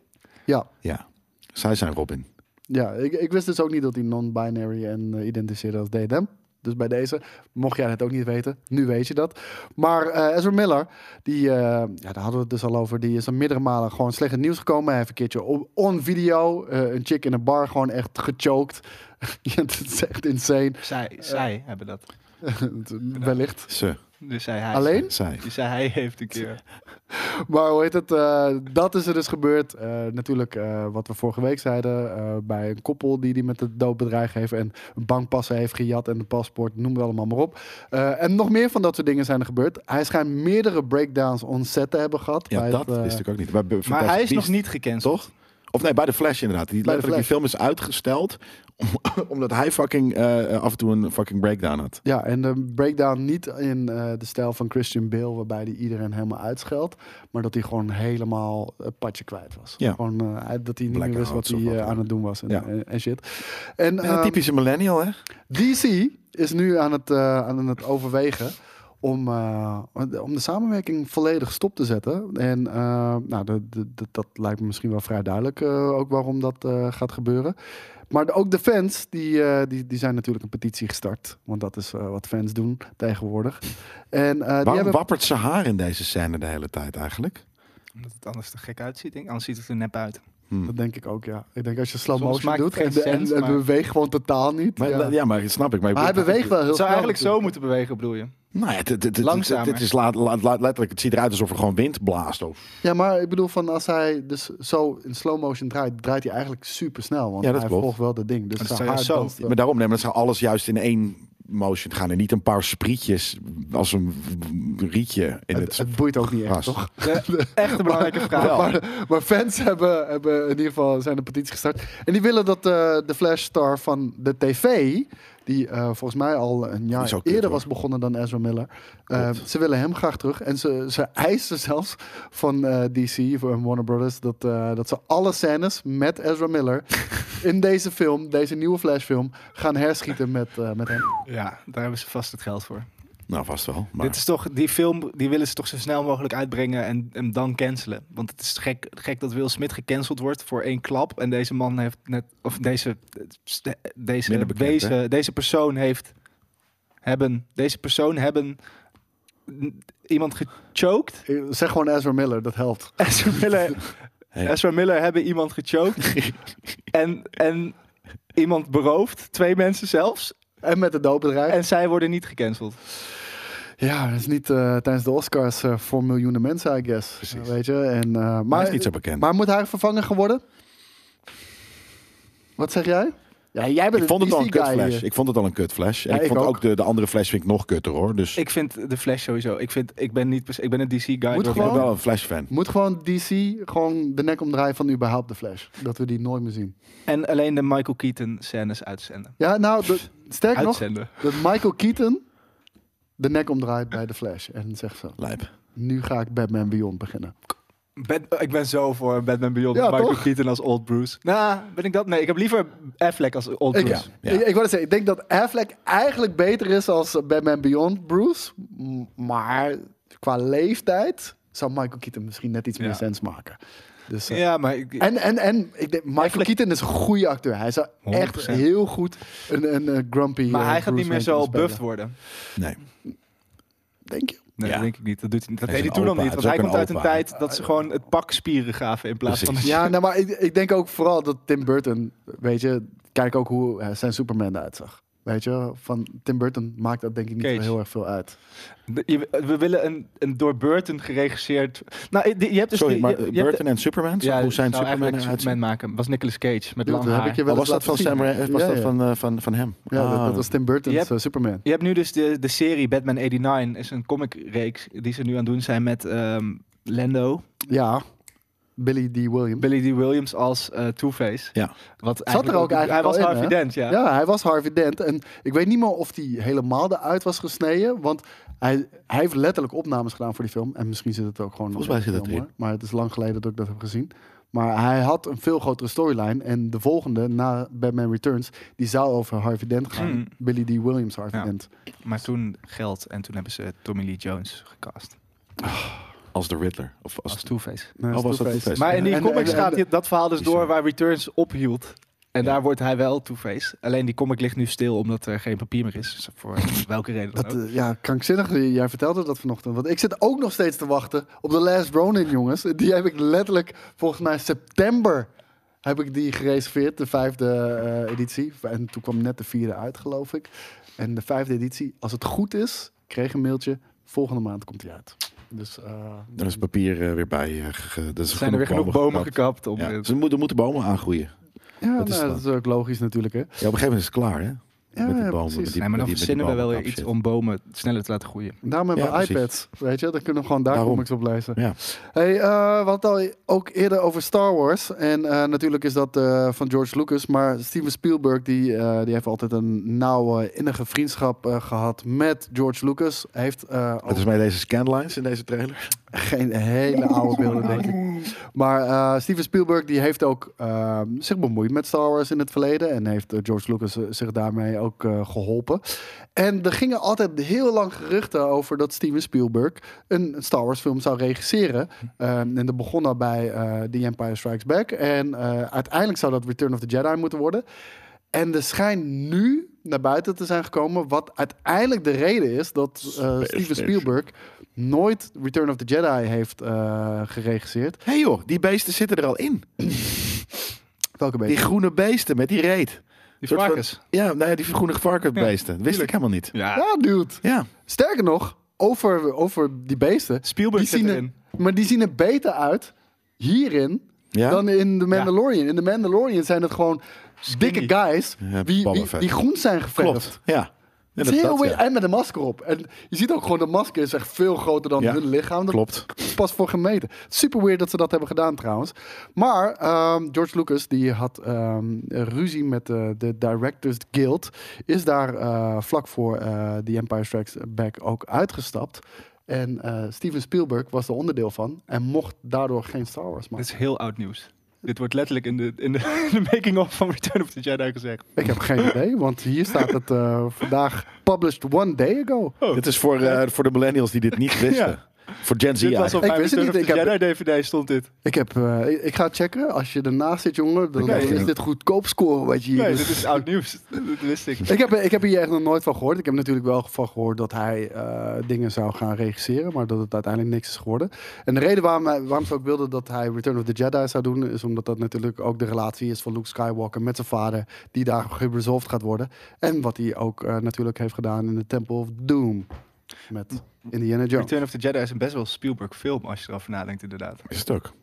Ja,
Ja, zij zijn Robin.
ja ik, ik wist dus ook niet dat hij non-binary en eh, identificeerde als they, them. Dus bij deze, mocht jij het ook niet weten, nu weet je dat. Maar eh Ezra Miller, die, eh, ja, daar hadden we het dus al over, die is al meerdere malen gewoon slecht in het nieuws gekomen. Hij heeft een keertje op, on video eh, een chick in een bar gewoon echt gechoked. Ja, dat is echt insane.
Zij, zij hebben dat.
Wellicht.
Ze,
Dus zij, hij.
Alleen?
zij.
Dus zij, hij heeft een keer.
Maar hoe heet het? eh, dat is er dus gebeurd. Eh, natuurlijk, eh, wat we vorige week zeiden. eh, bij een koppel die die met de dood bedreigd heeft. En een bankpassen heeft gejat. En een paspoort. Noem het allemaal maar op. Eh, en nog meer van dat soort dingen zijn er gebeurd. Hij schijnt meerdere breakdowns on set te hebben gehad.
Ja,
bij
dat
het,
is
eh,
natuurlijk ook niet. Bij- bij
Maar
Fantastic
hij is nog
Beasts,
niet gekend.
Toch? Of nee, bij de Flash inderdaad. Die,
The
letterlijk, die film is uitgesteld om- omdat hij fucking eh, af en toe een fucking breakdown had.
Ja, en de breakdown niet in eh, de stijl van Christian Bale, waarbij hij iedereen helemaal uitscheldt, maar dat hij gewoon helemaal het padje kwijt was.
Ja.
Gewoon eh, hij- dat hij niet meer wist wat
Blackouts
hij
of
eh,
wat dan
aan
ook.
het doen was en,
Ja.
en, en shit. En
Ja,
ehm,
typische millennial, hè?
DC is nu aan het, eh, aan het overwegen om, eh, om de samenwerking volledig stop te zetten. En eh, nou, de, de- de- dat lijkt me misschien wel vrij duidelijk eh, ook waarom dat eh, gaat gebeuren. Maar de- ook de fans, die, eh, die, die zijn natuurlijk een petitie gestart. Want dat is eh, wat fans doen tegenwoordig. En, eh, die
Waarom
hebben...
wappert ze haar in deze scène de hele tijd eigenlijk?
Omdat het anders te gek uitziet. Denk. ik. Anders ziet het er nep uit.
Hm.
Dat denk ik ook, ja. Ik denk als je slow
Soms
motion
maakt het
doet en,
geen
de- en,
sens,
en
maar-
beweegt gewoon totaal niet.
Maar,
ja.
ja. maar dat snap ik. Maar, ik
Maar hij
bedoel-
beweegt wel heel
Het
snel.
zou eigenlijk zo
natuurlijk.
moeten bewegen, bedoel je?
Nou ja, dit, dit, dit-
Langzamer.
dit is laat, laat, laat- letterlijk, het ziet eruit alsof er gewoon wind blaast. Of,
Ja, maar ik bedoel van als hij dus zo in slow motion draait, draait hij eigenlijk super snel, want
Ja, dat
hij
klopt.
volgt wel dat ding. Dus
Maar dat
zijn
zou je
haar
zo-
danst, eh,
maar daarom, nee, maar dat zou alles juist in één motion gaan. En niet een paar sprietjes als een rietje in
het,
het...
het boeit ook niet echt,
gras.
toch?
De echte belangrijke vraag.
Wel.
Maar, maar fans hebben, hebben in ieder geval zijn een petitie gestart. En die willen dat eh, de flashstar van de tv, die eh, volgens mij al een jaar
is ook kut,
eerder
hoor.
was begonnen dan Ezra Miller, eh,
Klopt.
ze willen hem graag terug. En ze, ze eisen zelfs van eh, DC, van Warner Brothers, dat, eh, dat ze alle scènes met Ezra Miller in deze film, deze nieuwe flashfilm, gaan herschieten met, eh, met hem.
Ja, daar hebben ze vast het geld voor.
Nou, vast wel. Maar
Dit is toch, die film die willen ze toch zo snel mogelijk uitbrengen en hem dan cancelen. Want het is gek, gek dat Will Smith gecanceld wordt voor één klap. En deze man heeft net, of deze, deze,
Minder bekend,
deze, deze persoon heeft, hebben, deze persoon hebben n- iemand gechoked.
Eh, Zeg gewoon Ezra Miller, dat helpt.
Ezra Miller,
Hey.
Ezra Miller hebben iemand gechoked. en, en iemand beroofd, twee mensen zelfs.
En met de doopbedrijf.
En zij worden niet gecanceld.
Ja, dat is niet eh, tijdens de Oscars eh, voor miljoenen mensen, I guess.
Precies.
Weet je? En, eh,
maar
maar,
hij is niet zo bekend.
maar moet hij vervangen geworden? Wat zeg jij? Ja, jij bent
ik vond het al een kut flash.
flash.
Ik vond het al een kut flash. En
Ja,
ik,
ik
vond
ook.
ook de, de andere flash vind ik nog kutter hoor. Dus ik
Ik vind de Flash sowieso. Ik, vind, ik ben niet pers- ik ben een DC guy. door
gewoon-
en
ben
door.
wel een flash fan.
Moet gewoon DC gewoon de nek omdraaien van überhaupt de Flash. Dat we die nooit meer zien.
En alleen de Michael Keaton scènes uitzenden.
Ja, nou, de- sterker nog,
Uitzenden.
dat Michael Keaton de nek omdraait bij de Flash. En zegt zo,
Lijp.
nu ga ik Batman Beyond beginnen.
Bat- ik ben zo voor Batman Beyond
Ja,
Michael
toch?
Keaton als Old Bruce. Nou, ben ik dat? Nee, ik heb liever Affleck als Old
Ik,
Bruce.
Ja.
ik, ik wilde zeggen, ik denk dat Affleck eigenlijk beter is als Batman Beyond Bruce. M- Maar qua leeftijd zou Michael Keaton misschien net iets meer
Ja.
sens maken. Dus,
Ja,
eh,
maar ik,
En, en, en ik denk, Michael
Affleck-
Keaton is een goede acteur. Hij zou echt
100%.
heel goed een, een eh, grumpy
maar
eh,
hij gaat
Bruce
niet meer
Wayne
zo
kunnen
buffed
spelen.
worden.
Nee.
Denk je?
Nee,
Ja.
dat denk ik niet. Dat, doet hij niet. dat
Hij is
deed hij
een
toen al
opa.
niet.
Het is
Want hij
ook
komt
een
uit een
opa.
tijd dat ze gewoon het pak spieren gaven in plaats van...
Precies.
Ja, nou, maar ik, ik denk ook vooral dat Tim Burton, weet je, kijk ook hoe eh, zijn Superman eruit zag. Weet je, van Tim Burton maakt dat denk ik niet zo
Cage.
heel erg veel uit.
De- je- We willen een, een door Burton geregisseerd... Nou, je je hebt dus...
Sorry,
die-
maar
je- je
eh,
hebt-
Burton en Superman?
Ja,
hoe zijn
zou
Superman
eigenlijk
eruit?
Superman maken. Was Nicolas Cage met
Dude,
lang
dat heb
haar.
ik je
Oh,
wel
was
eens
dat
laten
van
zien.
Sam? Ra- Was
Ja,
dat
ja.
van, eh, van, van hem?
Ja, dat,
Ah.
dat was Tim Burton's
Je hebt-
eh, Superman.
Je hebt nu dus de, de serie Batman 89, is een comicreeks die ze nu aan het doen zijn met ehm, Lando,
Ja, Billy D. Williams.
Billy D. Williams als eh, Two-Face.
Ja.
Wat
Zat er ook eigenlijk
Hij was
al in,
Harvey
hè?
Dent, ja.
Ja, hij was Harvey Dent. En ik weet niet meer of hij helemaal eruit was gesneden. Want hij, hij heeft letterlijk opnames gedaan voor die film. En misschien zit het ook gewoon...
Volgens mij
in de
zit dat
film,
erin.
hoor. Maar het is lang geleden dat ik dat heb gezien. Maar hij had een veel grotere storyline. En de volgende, na Batman Returns, die zou over Harvey Dent gaan.
Mm.
Billy D. Williams Harvey
Ja.
Dent.
Maar toen geld en toen hebben ze Tommy Lee Jones gecast
Als de Riddler. Of als,
als Two-Face.
Nee,
Oh, was dat
Two-Face.
Two-Face?
Maar in die
Dus En-
comics
en-
gaat
en-
dit- dat verhaal dus
Bizar.
door waar Returns ophield. En
Ja.
daar wordt hij wel Two-Face. Alleen die comic ligt nu stil omdat er geen papier meer is. Dus Voor welke reden dan
Dat,
ook.
eh, ja, krankzinnig. Jij vertelde dat vanochtend. Want ik zit ook nog steeds te wachten op de Last Ronin, jongens. Die heb ik letterlijk, volgens mij september, heb ik die gereserveerd. De vijfde eh, editie. En toen kwam net de vierde uit, geloof ik. En de vijfde editie, als het goed is, kreeg een mailtje. Volgende maand komt die uit. Dus, eh,
Er is papier eh, weer bij. eh, ge- dus
Er zijn er weer genoeg bomen
gekapt.
gekapt. Om
Ja, Dus ze moeten, er moeten bomen aangroeien.
ja, nou,
dat
dat,
is
is
dan.
ook logisch natuurlijk, hè.
Ja, op een gegeven moment is het klaar, hè?
Ja,
met die
ja,
bomen.
precies.
Met die,
nee, maar
met die-
dan
met die
verzinnen we wel weer
bomenkap
iets
shit.
om bomen sneller te laten groeien.
Daarom hebben
Ja,
we
precies.
iPads, weet je. Dan kunnen we gewoon daar
Daarom.
comics op lezen.
Ja.
Hey, eh, we hadden het al ook eerder over Star Wars. En eh, natuurlijk is dat eh, van George Lucas. Maar Steven Spielberg die, eh, die heeft altijd een nauwe, innige vriendschap eh, gehad met George Lucas. Hij heeft eh, ook
Wat is mij deze scanlines in deze trailer?
geen hele oude beelden, denk ik. Maar eh, Steven Spielberg die heeft ook eh, zich bemoeid met Star Wars in het verleden. En heeft eh, George Lucas eh, zich daarmee ook eh, geholpen. En er gingen altijd heel lang geruchten over dat Steven Spielberg een Star Wars film zou regisseren. Eh, en dat begon al bij eh, The Empire Strikes Back. En eh, uiteindelijk zou dat Return of the Jedi moeten worden. En er schijnt nu naar buiten te zijn gekomen wat uiteindelijk de reden is dat eh, Steven
Space.
Spielberg nooit Return of the Jedi heeft eh, geregisseerd.
Hé hey joh, die beesten zitten er al in.
Welke
Die
beetje?
groene beesten met die reet.
Die
Soort van-
varkens.
Ja, nou ja, die groene varkensbeesten. Dat wist ik helemaal niet.
Ja.
Ja, dude.
Ja,
Sterker nog, over, over die beesten.
Spielberg
Die
zit
zien er,
erin.
maar die zien er beter uit hierin
ja?
dan in The Mandalorian. In The Mandalorian zijn het gewoon dikke guys
Ja,
die,
Boba
die,
Fett.
die groen zijn geverfd.
klopt. Ja. Ja,
Het is heel
dat-
weird.
ja.
En met een masker op. En je ziet ook gewoon, dat masker is echt veel groter dan
Ja,
hun lichaam. Dat
klopt.
is pas voor gemeten. Super weird dat ze dat hebben gedaan trouwens. Maar ehm, George Lucas, die had ehm, ruzie met eh, de Directors Guild. Is daar eh, vlak voor eh The Empire Strikes Back ook uitgestapt. En eh, Steven Spielberg was er onderdeel van. En mocht daardoor geen Star Wars
Dit
maken.
is heel oud nieuws. Dit wordt letterlijk in de, in de, in de making-of van Return of the Jedi gezegd.
Ik heb geen idee, want hier staat het eh, vandaag published one day ago.
Dit is voor, eh, voor de millennials die dit niet wisten. Voor Gen Z
Dit was op
eigenlijk.
Ik
mijn
wist het
Return
niet,
of the
ik heb-
Jedi DVD stond dit.
Ik, heb, eh, ik, ik ga checken. Als je ernaast zit, jongen, dan
Oké.
is dit goedkoop scoren wat je hier
Nee,
doet.
dit is oud nieuws. Dat wist ik.
Ik heb, ik heb hier echt nog nooit van gehoord. Ik heb natuurlijk wel van gehoord dat hij eh, dingen zou gaan regisseren, maar dat het uiteindelijk niks is geworden. En de reden waarom, hij- waarom ze ook wilden dat hij Return of the Jedi zou doen, is omdat dat natuurlijk ook de relatie is van Luke Skywalker met zijn vader, die daar geresolved gaat worden. En wat hij ook eh, natuurlijk heeft gedaan in de Temple of Doom met Indiana Jones.
Return of the Jedi is een best wel Spielberg film als je erover nadenkt inderdaad.
Is het ook.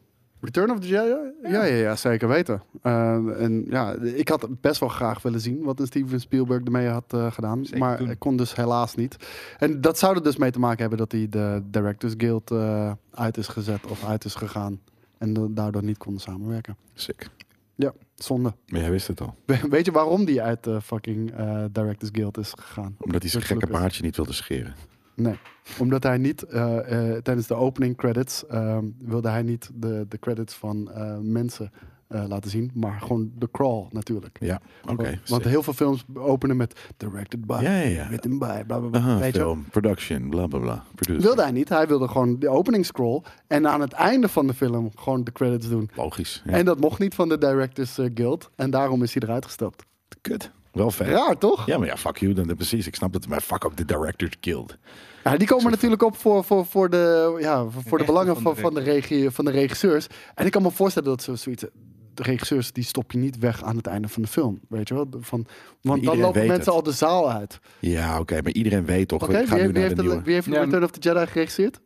Return of the Jedi? Ja, ja, ja, zeker weten. Eh, en ja, ik had best wel graag willen zien wat een Steven Spielberg ermee had eh, gedaan.
Zeker
maar
doen.
ik kon dus helaas niet. En dat zou er dus mee te maken hebben dat hij de Directors Guild eh, uit is gezet of uit is gegaan. En da- daardoor niet konden samenwerken.
Sick.
Ja, zonde.
Maar jij wist het al.
We- Weet je waarom die uit de fucking eh, Directors Guild is gegaan?
Omdat hij zijn
George
gekke
Lucas.
paardje niet wilde scheren.
Nee, omdat hij niet eh, eh, tijdens de opening credits ehm, wilde hij niet de, de credits van eh, mensen eh, laten zien, maar gewoon de crawl natuurlijk.
Ja, oké.
want, want
sick.
heel veel films openen met directed by,
Ja, ja, ja.
written by, bla bla bla.
Aha,
weet je wel.
film, production, bla bla bla. Producer.
Wilde hij niet, hij wilde gewoon de opening scroll en aan het einde van de film gewoon de credits doen.
Logisch. Ja.
En dat mocht niet van de Directors eh, Guild en daarom is hij eruit gestapt.
Kut. Wel vet.
Raar toch?
Ja, maar ja, fuck you. Dan, dan precies. Ik snap dat. Maar fuck up the Directors Guild.
Ja, Nou, die komen natuurlijk op voor, voor, voor de, ja, voor, voor de
rechten
belangen
van
van,
de
van, de regie, van de regisseurs. En ik kan me voorstellen dat zo- zoiets. De regisseurs die stop je niet weg aan het einde van de film. Weet je wel? Van, want dan
Iedereen
lopen
weet
mensen
het. Oh,
al de zaal uit.
Ja, oké. maar iedereen weet toch.
Oké,
we
wie,
gaan nu
heeft- wie
naar
heeft
de
de,
nieuwe.
wie heeft
Ja,
Return of the Jedi geregisseerd?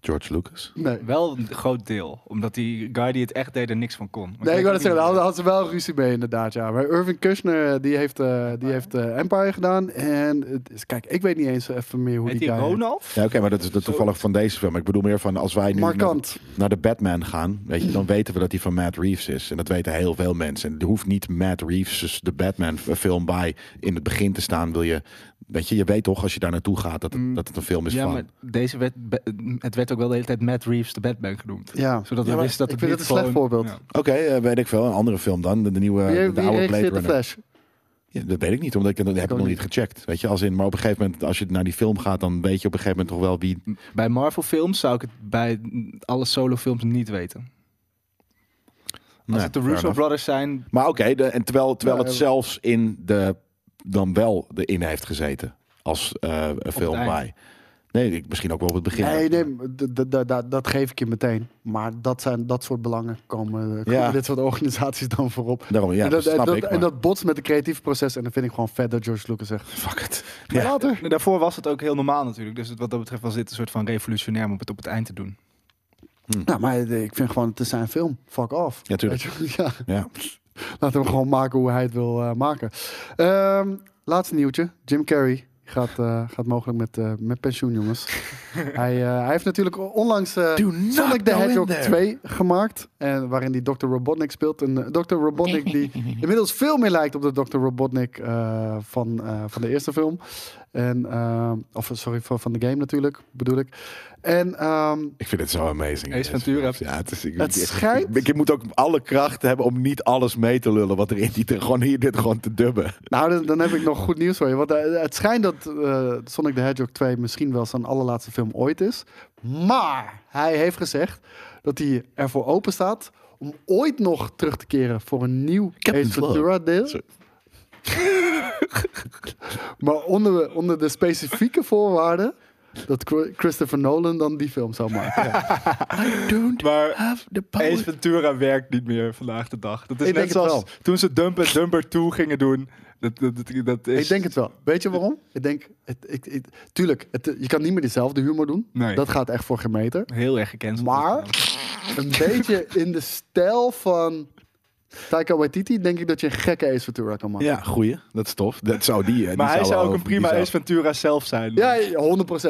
George Lucas.
Nee.
Wel een groot deel, omdat die guy die het echt deed er niks van kon. Maar
Nee, ik wou
weet
dat zeggen, daar
niet
hadden- hadden ze wel ruzie mee inderdaad, ja. Maar Irving Kushner, eh, die heeft, eh, die heeft eh, Empire gedaan. En het is- kijk, ik weet niet eens even meer hoe
Heet
die
die
guy...
Ronald?
Ja, oké, maar dat is de toevallig van deze film. Ik bedoel meer van als wij nu naar,
Markant.
naar de Batman gaan, weet je, dan weten we dat die van Matt Reeves is. En dat weten heel veel mensen. En er hoeft niet Matt Reeves, dus de Batman f- film bij in het begin te staan. Wil je, weet je, je weet toch als je daar naartoe gaat dat
Mm.
het, dat het een film is
Ja,
van.
maar deze werd, be- het werd ook wel de hele tijd Matt Reeves de Batman genoemd.
Ja,
Zodat
Ja,
we
maar
wisten dat het
ik vind
niet
het een slecht
gewoon-
voorbeeld.
Oké, eh, weet ik veel. Een andere film dan, de, de nieuwe,
wie,
Eh, de
wie
oude Blade
regisseert de
Runner.
Flash?
Ja, dat weet ik niet, omdat ik, dat heb ik
ook
nog niet gecheckt. Weet je, als in, maar op een gegeven moment, als je naar die film gaat, dan weet je op een gegeven moment toch wel wie.
Bij Marvel films zou ik het bij alle solo films niet weten. Als
Nee,
het de
fair
Russo
enough.
Brothers zijn,
Nou. Maar oké, de- en terwijl, terwijl
Ja,
het
ja.
zelfs in de dan wel de in heeft gezeten als eh, een film
eind.
bij. Nee, ik- misschien ook wel op het begin.
Nee, nee, maar d- d- d- d- dat geef ik je meteen. Maar dat, zijn, dat soort belangen komen, eh, komen
Ja.
dit soort organisaties dan voorop.
Daarom, ja,
en,
dat,
dat,
snap
dat-
ik.
en
maar-
dat botst met het creatieve proces. En dan vind ik gewoon vet dat George Lucas zegt.
fuck it.
Maar
Ja.
later.
En daarvoor was het ook heel normaal natuurlijk. Dus het- wat dat betreft was dit een soort van revolutionair om het op het eind te doen.
Nou, maar eh, ik vind gewoon, het is zijn film. Fuck off.
Ja, tuurlijk.
Weet je wel? Ja,
Ja.
laten we hem gewoon maken hoe hij het wil eh, maken. Ehm, laatste nieuwtje. Jim Carrey gaat, eh, gaat mogelijk met, eh, met pensioen, jongens. hij, eh, hij heeft natuurlijk onlangs... eh,
Do not
Sonic the
go nou in
Hedgehog
there.
2 gemaakt. En waarin die Dr. Robotnik speelt. Een eh, Dr. Robotnik die inmiddels veel meer lijkt op de Dr. Robotnik eh, van, eh, van de eerste film. En, ehm, of sorry, van, van de game natuurlijk, bedoel ik. En ehm,
Ik vind het zo amazing.
Ace Ventura.
Ja, het is, ik,
Het
ik-
schijnt-
Ik, je moet ook alle kracht hebben om niet alles mee te lullen. Wat er in die... Gewoon hier dit gewoon te dubben.
nou, dan, dan heb ik nog goed nieuws voor je. Want eh, het schijnt dat eh, Sonic the Hedgehog 2 misschien wel zijn allerlaatste film ooit is. Maar hij heeft gezegd dat hij ervoor open staat om ooit nog terug te keren voor een nieuw
Captain
Ace Ventura deel.
Sorry.
Maar onder, onder de specifieke voorwaarden dat Cro- Christopher Nolan dan die film zou maken.
Maar
Have the
Ace Ventura werkt niet meer vandaag de dag. Dat is
Ik
net
denk het
zoals toen ze Dump en Dumber 2 gingen doen. Dat, dat, dat, dat is...
Ik denk het wel. Weet je waarom? Ik denk, het, ik, ik- tuurlijk, het, je kan niet meer dezelfde humor doen.
Nee.
Dat gaat echt voor geen meter.
Heel erg gekend.
Maar een beetje in de stijl van Taika Waititi denk ik dat je een gekke Ace Ventura kan maken.
Ja, goeie. Dat is tof. Dat zou die... eh, die
Maar hij zou ook
wel-
een
die
prima
zou-
Ace Ventura zelf zijn.
Ja,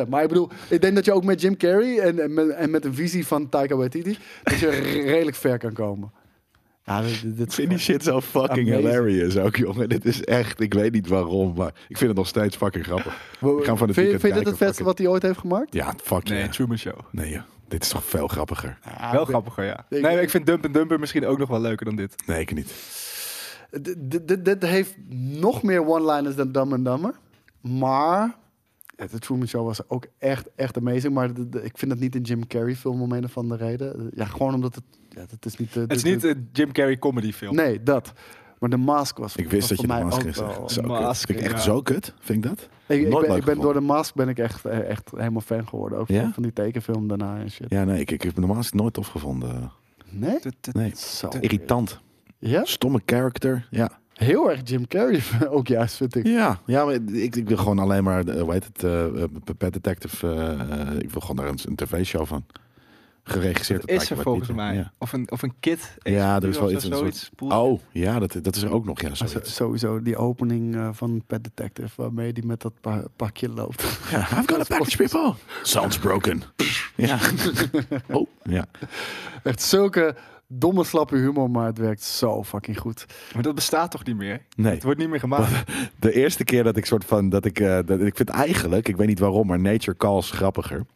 100%. Maar ik bedoel, ik denk dat je ook met Jim Carrey en, en, met, en met een visie van Taika Waititi, dat je re- redelijk ver kan komen. Ja, dit, dit- dit
Ik
is
vind die shit zo fucking
Amazing.
hilarious ook, jongen. Dit is echt... Ik weet niet waarom, maar ik vind het nog steeds fucking grappig. We gaan van het weekend
vind, je- vind je dit
kijken,
het vetste
fuck it.
wat hij ooit heeft gemaakt?
Ja, fuck
Nee,
yeah.
Truman Show.
Nee, joh. dit is toch veel grappiger.
wel grappiger, ja.
Ah, ik-
nee, maar ik vind Dump en Dumber misschien ook nog wel leuker dan dit.
Nee, ik niet.
D- d- d- Dit heeft nog meer one-liners dan Dumb and Dumber. Maar ja, de Truman Show was ook echt, echt amazing. Maar d- d- ik vind het niet een Jim Carrey film om een of andere reden. Ja, gewoon omdat het... Ja, dat is niet... eh,
Het is
de-
niet
de-
een Jim Carrey comedy film.
nee, dat. Maar de mask was
Ik wist
was
dat je de
voor mij
mask
ook
ging
wel-
zeggen. Zo kut.
Mask,
Vind ik echt
ja.
zo kut. Vind ik dat?
Ik, ik
Nooit
ben,
leuk
ik ben door
gevonden.
de mask ben ik echt, eh, echt helemaal fan geworden. Ook
Ja?
van- van die tekenfilm daarna en shit.
Ja, nee, ik, ik heb normaal is het nooit tof gevonden.
Nee?
Nee.
Zo.
Irritant.
Ja?
Stomme character. Ja.
Heel erg Jim Carrey ook juist, vind ik.
Ja, ja maar ik, ik wil gewoon alleen maar, eh, hoe heet het, eh, eh, Pet Detective. eh, eh, ik wil gewoon daar een, een tv-show van. Geregisseerd. door
Is er
Taika
volgens
Waititi.
mij.
Ja.
Of, een, of een kid. Ace
Ja, er is wel
Ventura
iets.
of
een soort-
zoiets. Bullshit.
Oh, ja, dat, dat is er ook nog. Ja,
Maar zo-
zoiets.
sowieso die opening eh, van Pet Detective, waarmee die met dat pa- pakje loopt.
Ja, I've got a package, people. Sounds broken. ja. Oh, ja.
Echt zulke domme, slappe humor, maar het werkt zo fucking goed.
Maar dat bestaat toch niet meer?
Nee.
Het wordt niet meer gemaakt.
De eerste keer dat ik soort van dat ik eh, dat ik vind eigenlijk, ik weet niet waarom, maar Nature Calls grappiger.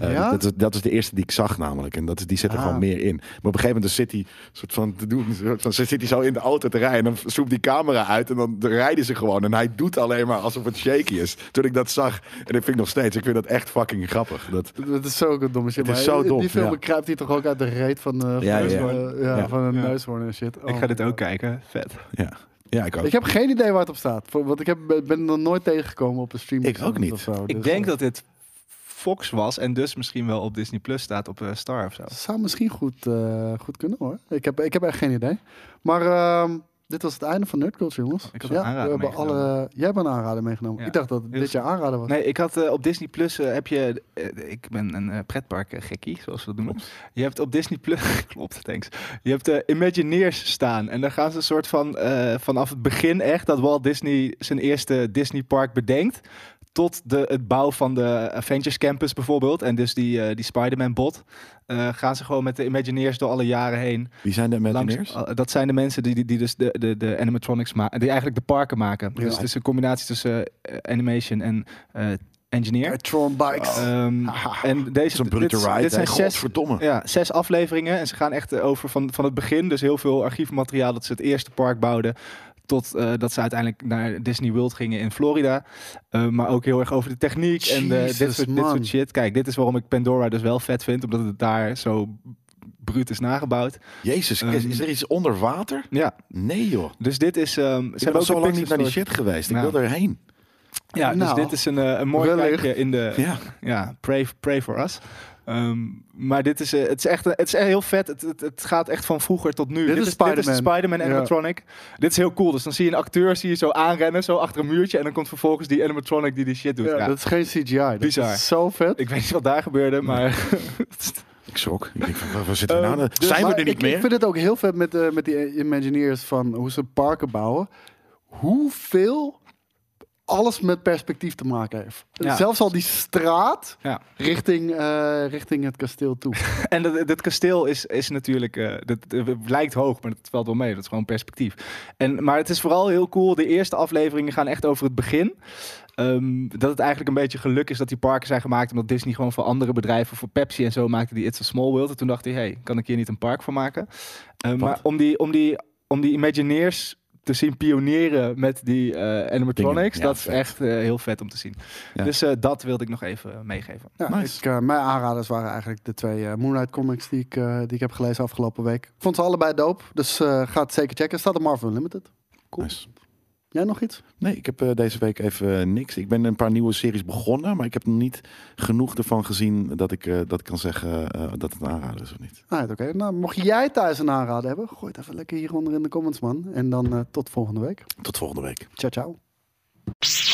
Eh,
Ja?
dat, is, dat is de eerste die ik zag namelijk. En dat is, die zit er
Ah.
gewoon meer in. Maar op een gegeven moment zit hij soort van te doen. Soort van, zit hij zo in de auto te rijden. En dan zoekt die camera uit. En dan rijden ze gewoon. En hij doet alleen maar alsof het shaky is. Toen ik dat zag. En dat vind ik nog steeds. Ik vind dat echt fucking grappig. Dat,
Dat is zulke domme shit.
Het is
maar
zo
in- in
dom,
Die film
ja.
kruipt hij toch ook uit de reet van, eh,
Ja,
van,
ja.
eh, ja,
Ja.
van een
Ja.
neushoorn en shit. Oh
ik ga
my
dit ook
God.
kijken. Vet.
ja. ja, ik ook.
Ik heb geen idee waar het op staat. voor- Want ik heb, ben er nog nooit tegengekomen op een stream.
Ik ook niet.
of zo,
Ik
dus,
denk
eh,
dat dit Fox was en dus misschien wel op Disney Plus staat op eh, Star of zo.
Dat zou misschien goed, eh, goed kunnen hoor. Ik heb, ik heb echt geen idee. Maar ehm, dit was het einde van Nerd Culture, jongens.
Ik had een aanrader
we hebben
meegenomen.
alle, jij hebt een aanrader meegenomen.
Ja.
Ik dacht dat het
Heel
dit je aanrader was.
Nee, ik had eh, op Disney Plus eh, heb je. eh, ik ben een eh, pretpark eh, gekkie, zoals we dat noemen. Je hebt op Disney Plus. klopt, thanks. Je hebt de Imagineers staan. En daar gaan ze een soort van. eh, vanaf het begin echt dat Walt Disney zijn eerste Disney park bedenkt. Tot de, het bouw van de Avengers Campus bijvoorbeeld. En dus die, eh, die Spider-Man-bot. eh, gaan ze gewoon met de Imagineers door alle jaren heen.
Wie zijn de
Langs-
Imagineers?
al- dat zijn de mensen die, die, die dus de, de, de animatronics maken, die eigenlijk de parken maken.
Ja.
Dus het is een combinatie tussen eh, animation en eh, engineer.
Tron Bikes.
Ehm,
Ah,
en deze
is een brute
dit,
ride.
dit zijn
hè?
zes,
Godverdomme.
ja, zes afleveringen en ze gaan echt eh, over van, van het begin, dus heel veel archiefmateriaal dat ze het eerste park bouwden. Tot eh, dat ze uiteindelijk naar Disney World gingen in Florida. Eh, maar ook heel erg over de techniek en de, dit,
Jezus,
soort, dit
man.
soort shit. Kijk, dit is waarom ik Pandora dus wel vet vind. Omdat het daar zo Brutus nagebouwd.
Jezus,
Ehm.
is, is er iets onder water?
Ja,
Nee joh.
dus dit is... ehm ze
Ik ben
hebben
al
ook
zo
een
lang niet naar die
pixel-
shit geweest. Ik
Nou.
wil erheen.
Ja, dus
Nou,
dit is een, eh, een mooi
wellicht.
kijkje in de,
Ja.
ja, pray, pray for us. Ehm, maar dit is, eh, het is echt eh, het is echt heel vet. Het, het, het gaat echt van vroeger tot nu.
Dit is
Dit is de
Spider-Man.
Spider-Man
Ja.
animatronic. Dit is heel cool. Dus dan zie je een acteur zie je zo aanrennen, zo achter een muurtje. En dan komt vervolgens die animatronic die die shit doet.
Ja,
Ja.
Dat is geen CGI. Dat
Bizar.
is zo vet.
Ik weet niet wat daar gebeurde, maar...
Ik schrok. Ik denk van, waar- waar zitten we
Eh,
nou?
dus-
Zijn we
Maar
er niet
ik,
meer?
Ik vind het ook heel vet met, eh, met die Imagineers van hoe ze parken bouwen. Hoeveel alles met perspectief te maken heeft.
Ja.
Zelfs al die straat
Ja.
richting, eh, richting het kasteel toe.
En dat, dit kasteel is, is natuurlijk, eh dat, eh, lijkt hoog, maar dat valt wel mee. Dat is gewoon perspectief. En, maar het is vooral heel cool. De eerste afleveringen gaan echt over het begin. Ehm, dat het eigenlijk een beetje geluk is dat die parken zijn gemaakt. Omdat Disney gewoon voor andere bedrijven, voor Pepsi en zo, maakte die It's a Small World. En toen dacht hij, hey, kan ik hier niet een park van maken? Eh, maar om die, om, die, om die Imagineers te zien pionieren met die eh,
Dingen,
animatronics,
ja,
dat is
vet.
echt eh, heel vet om te zien.
Ja.
Dus eh, dat wilde ik nog even eh, meegeven.
Ja,
Nice.
ik, eh, mijn aanraders waren eigenlijk de twee eh Moonlight comics die ik, eh, die ik heb gelezen afgelopen week. Ik vond ze allebei dope, dus eh ga het zeker checken. Staat op Marvel Unlimited. Cool.
Nice.
Jij nog iets?
Nee, ik heb eh, deze week even eh, niks. Ik ben een paar nieuwe series begonnen, maar ik heb nog niet genoeg ervan gezien dat ik eh, dat ik kan zeggen eh, dat het een aanrader is of niet.
Ah, oké. Nou, mocht jij thuis een aanrader hebben, gooi het even lekker hieronder in de comments, man. En dan eh, tot volgende week.
Tot volgende week.
Ciao, ciao.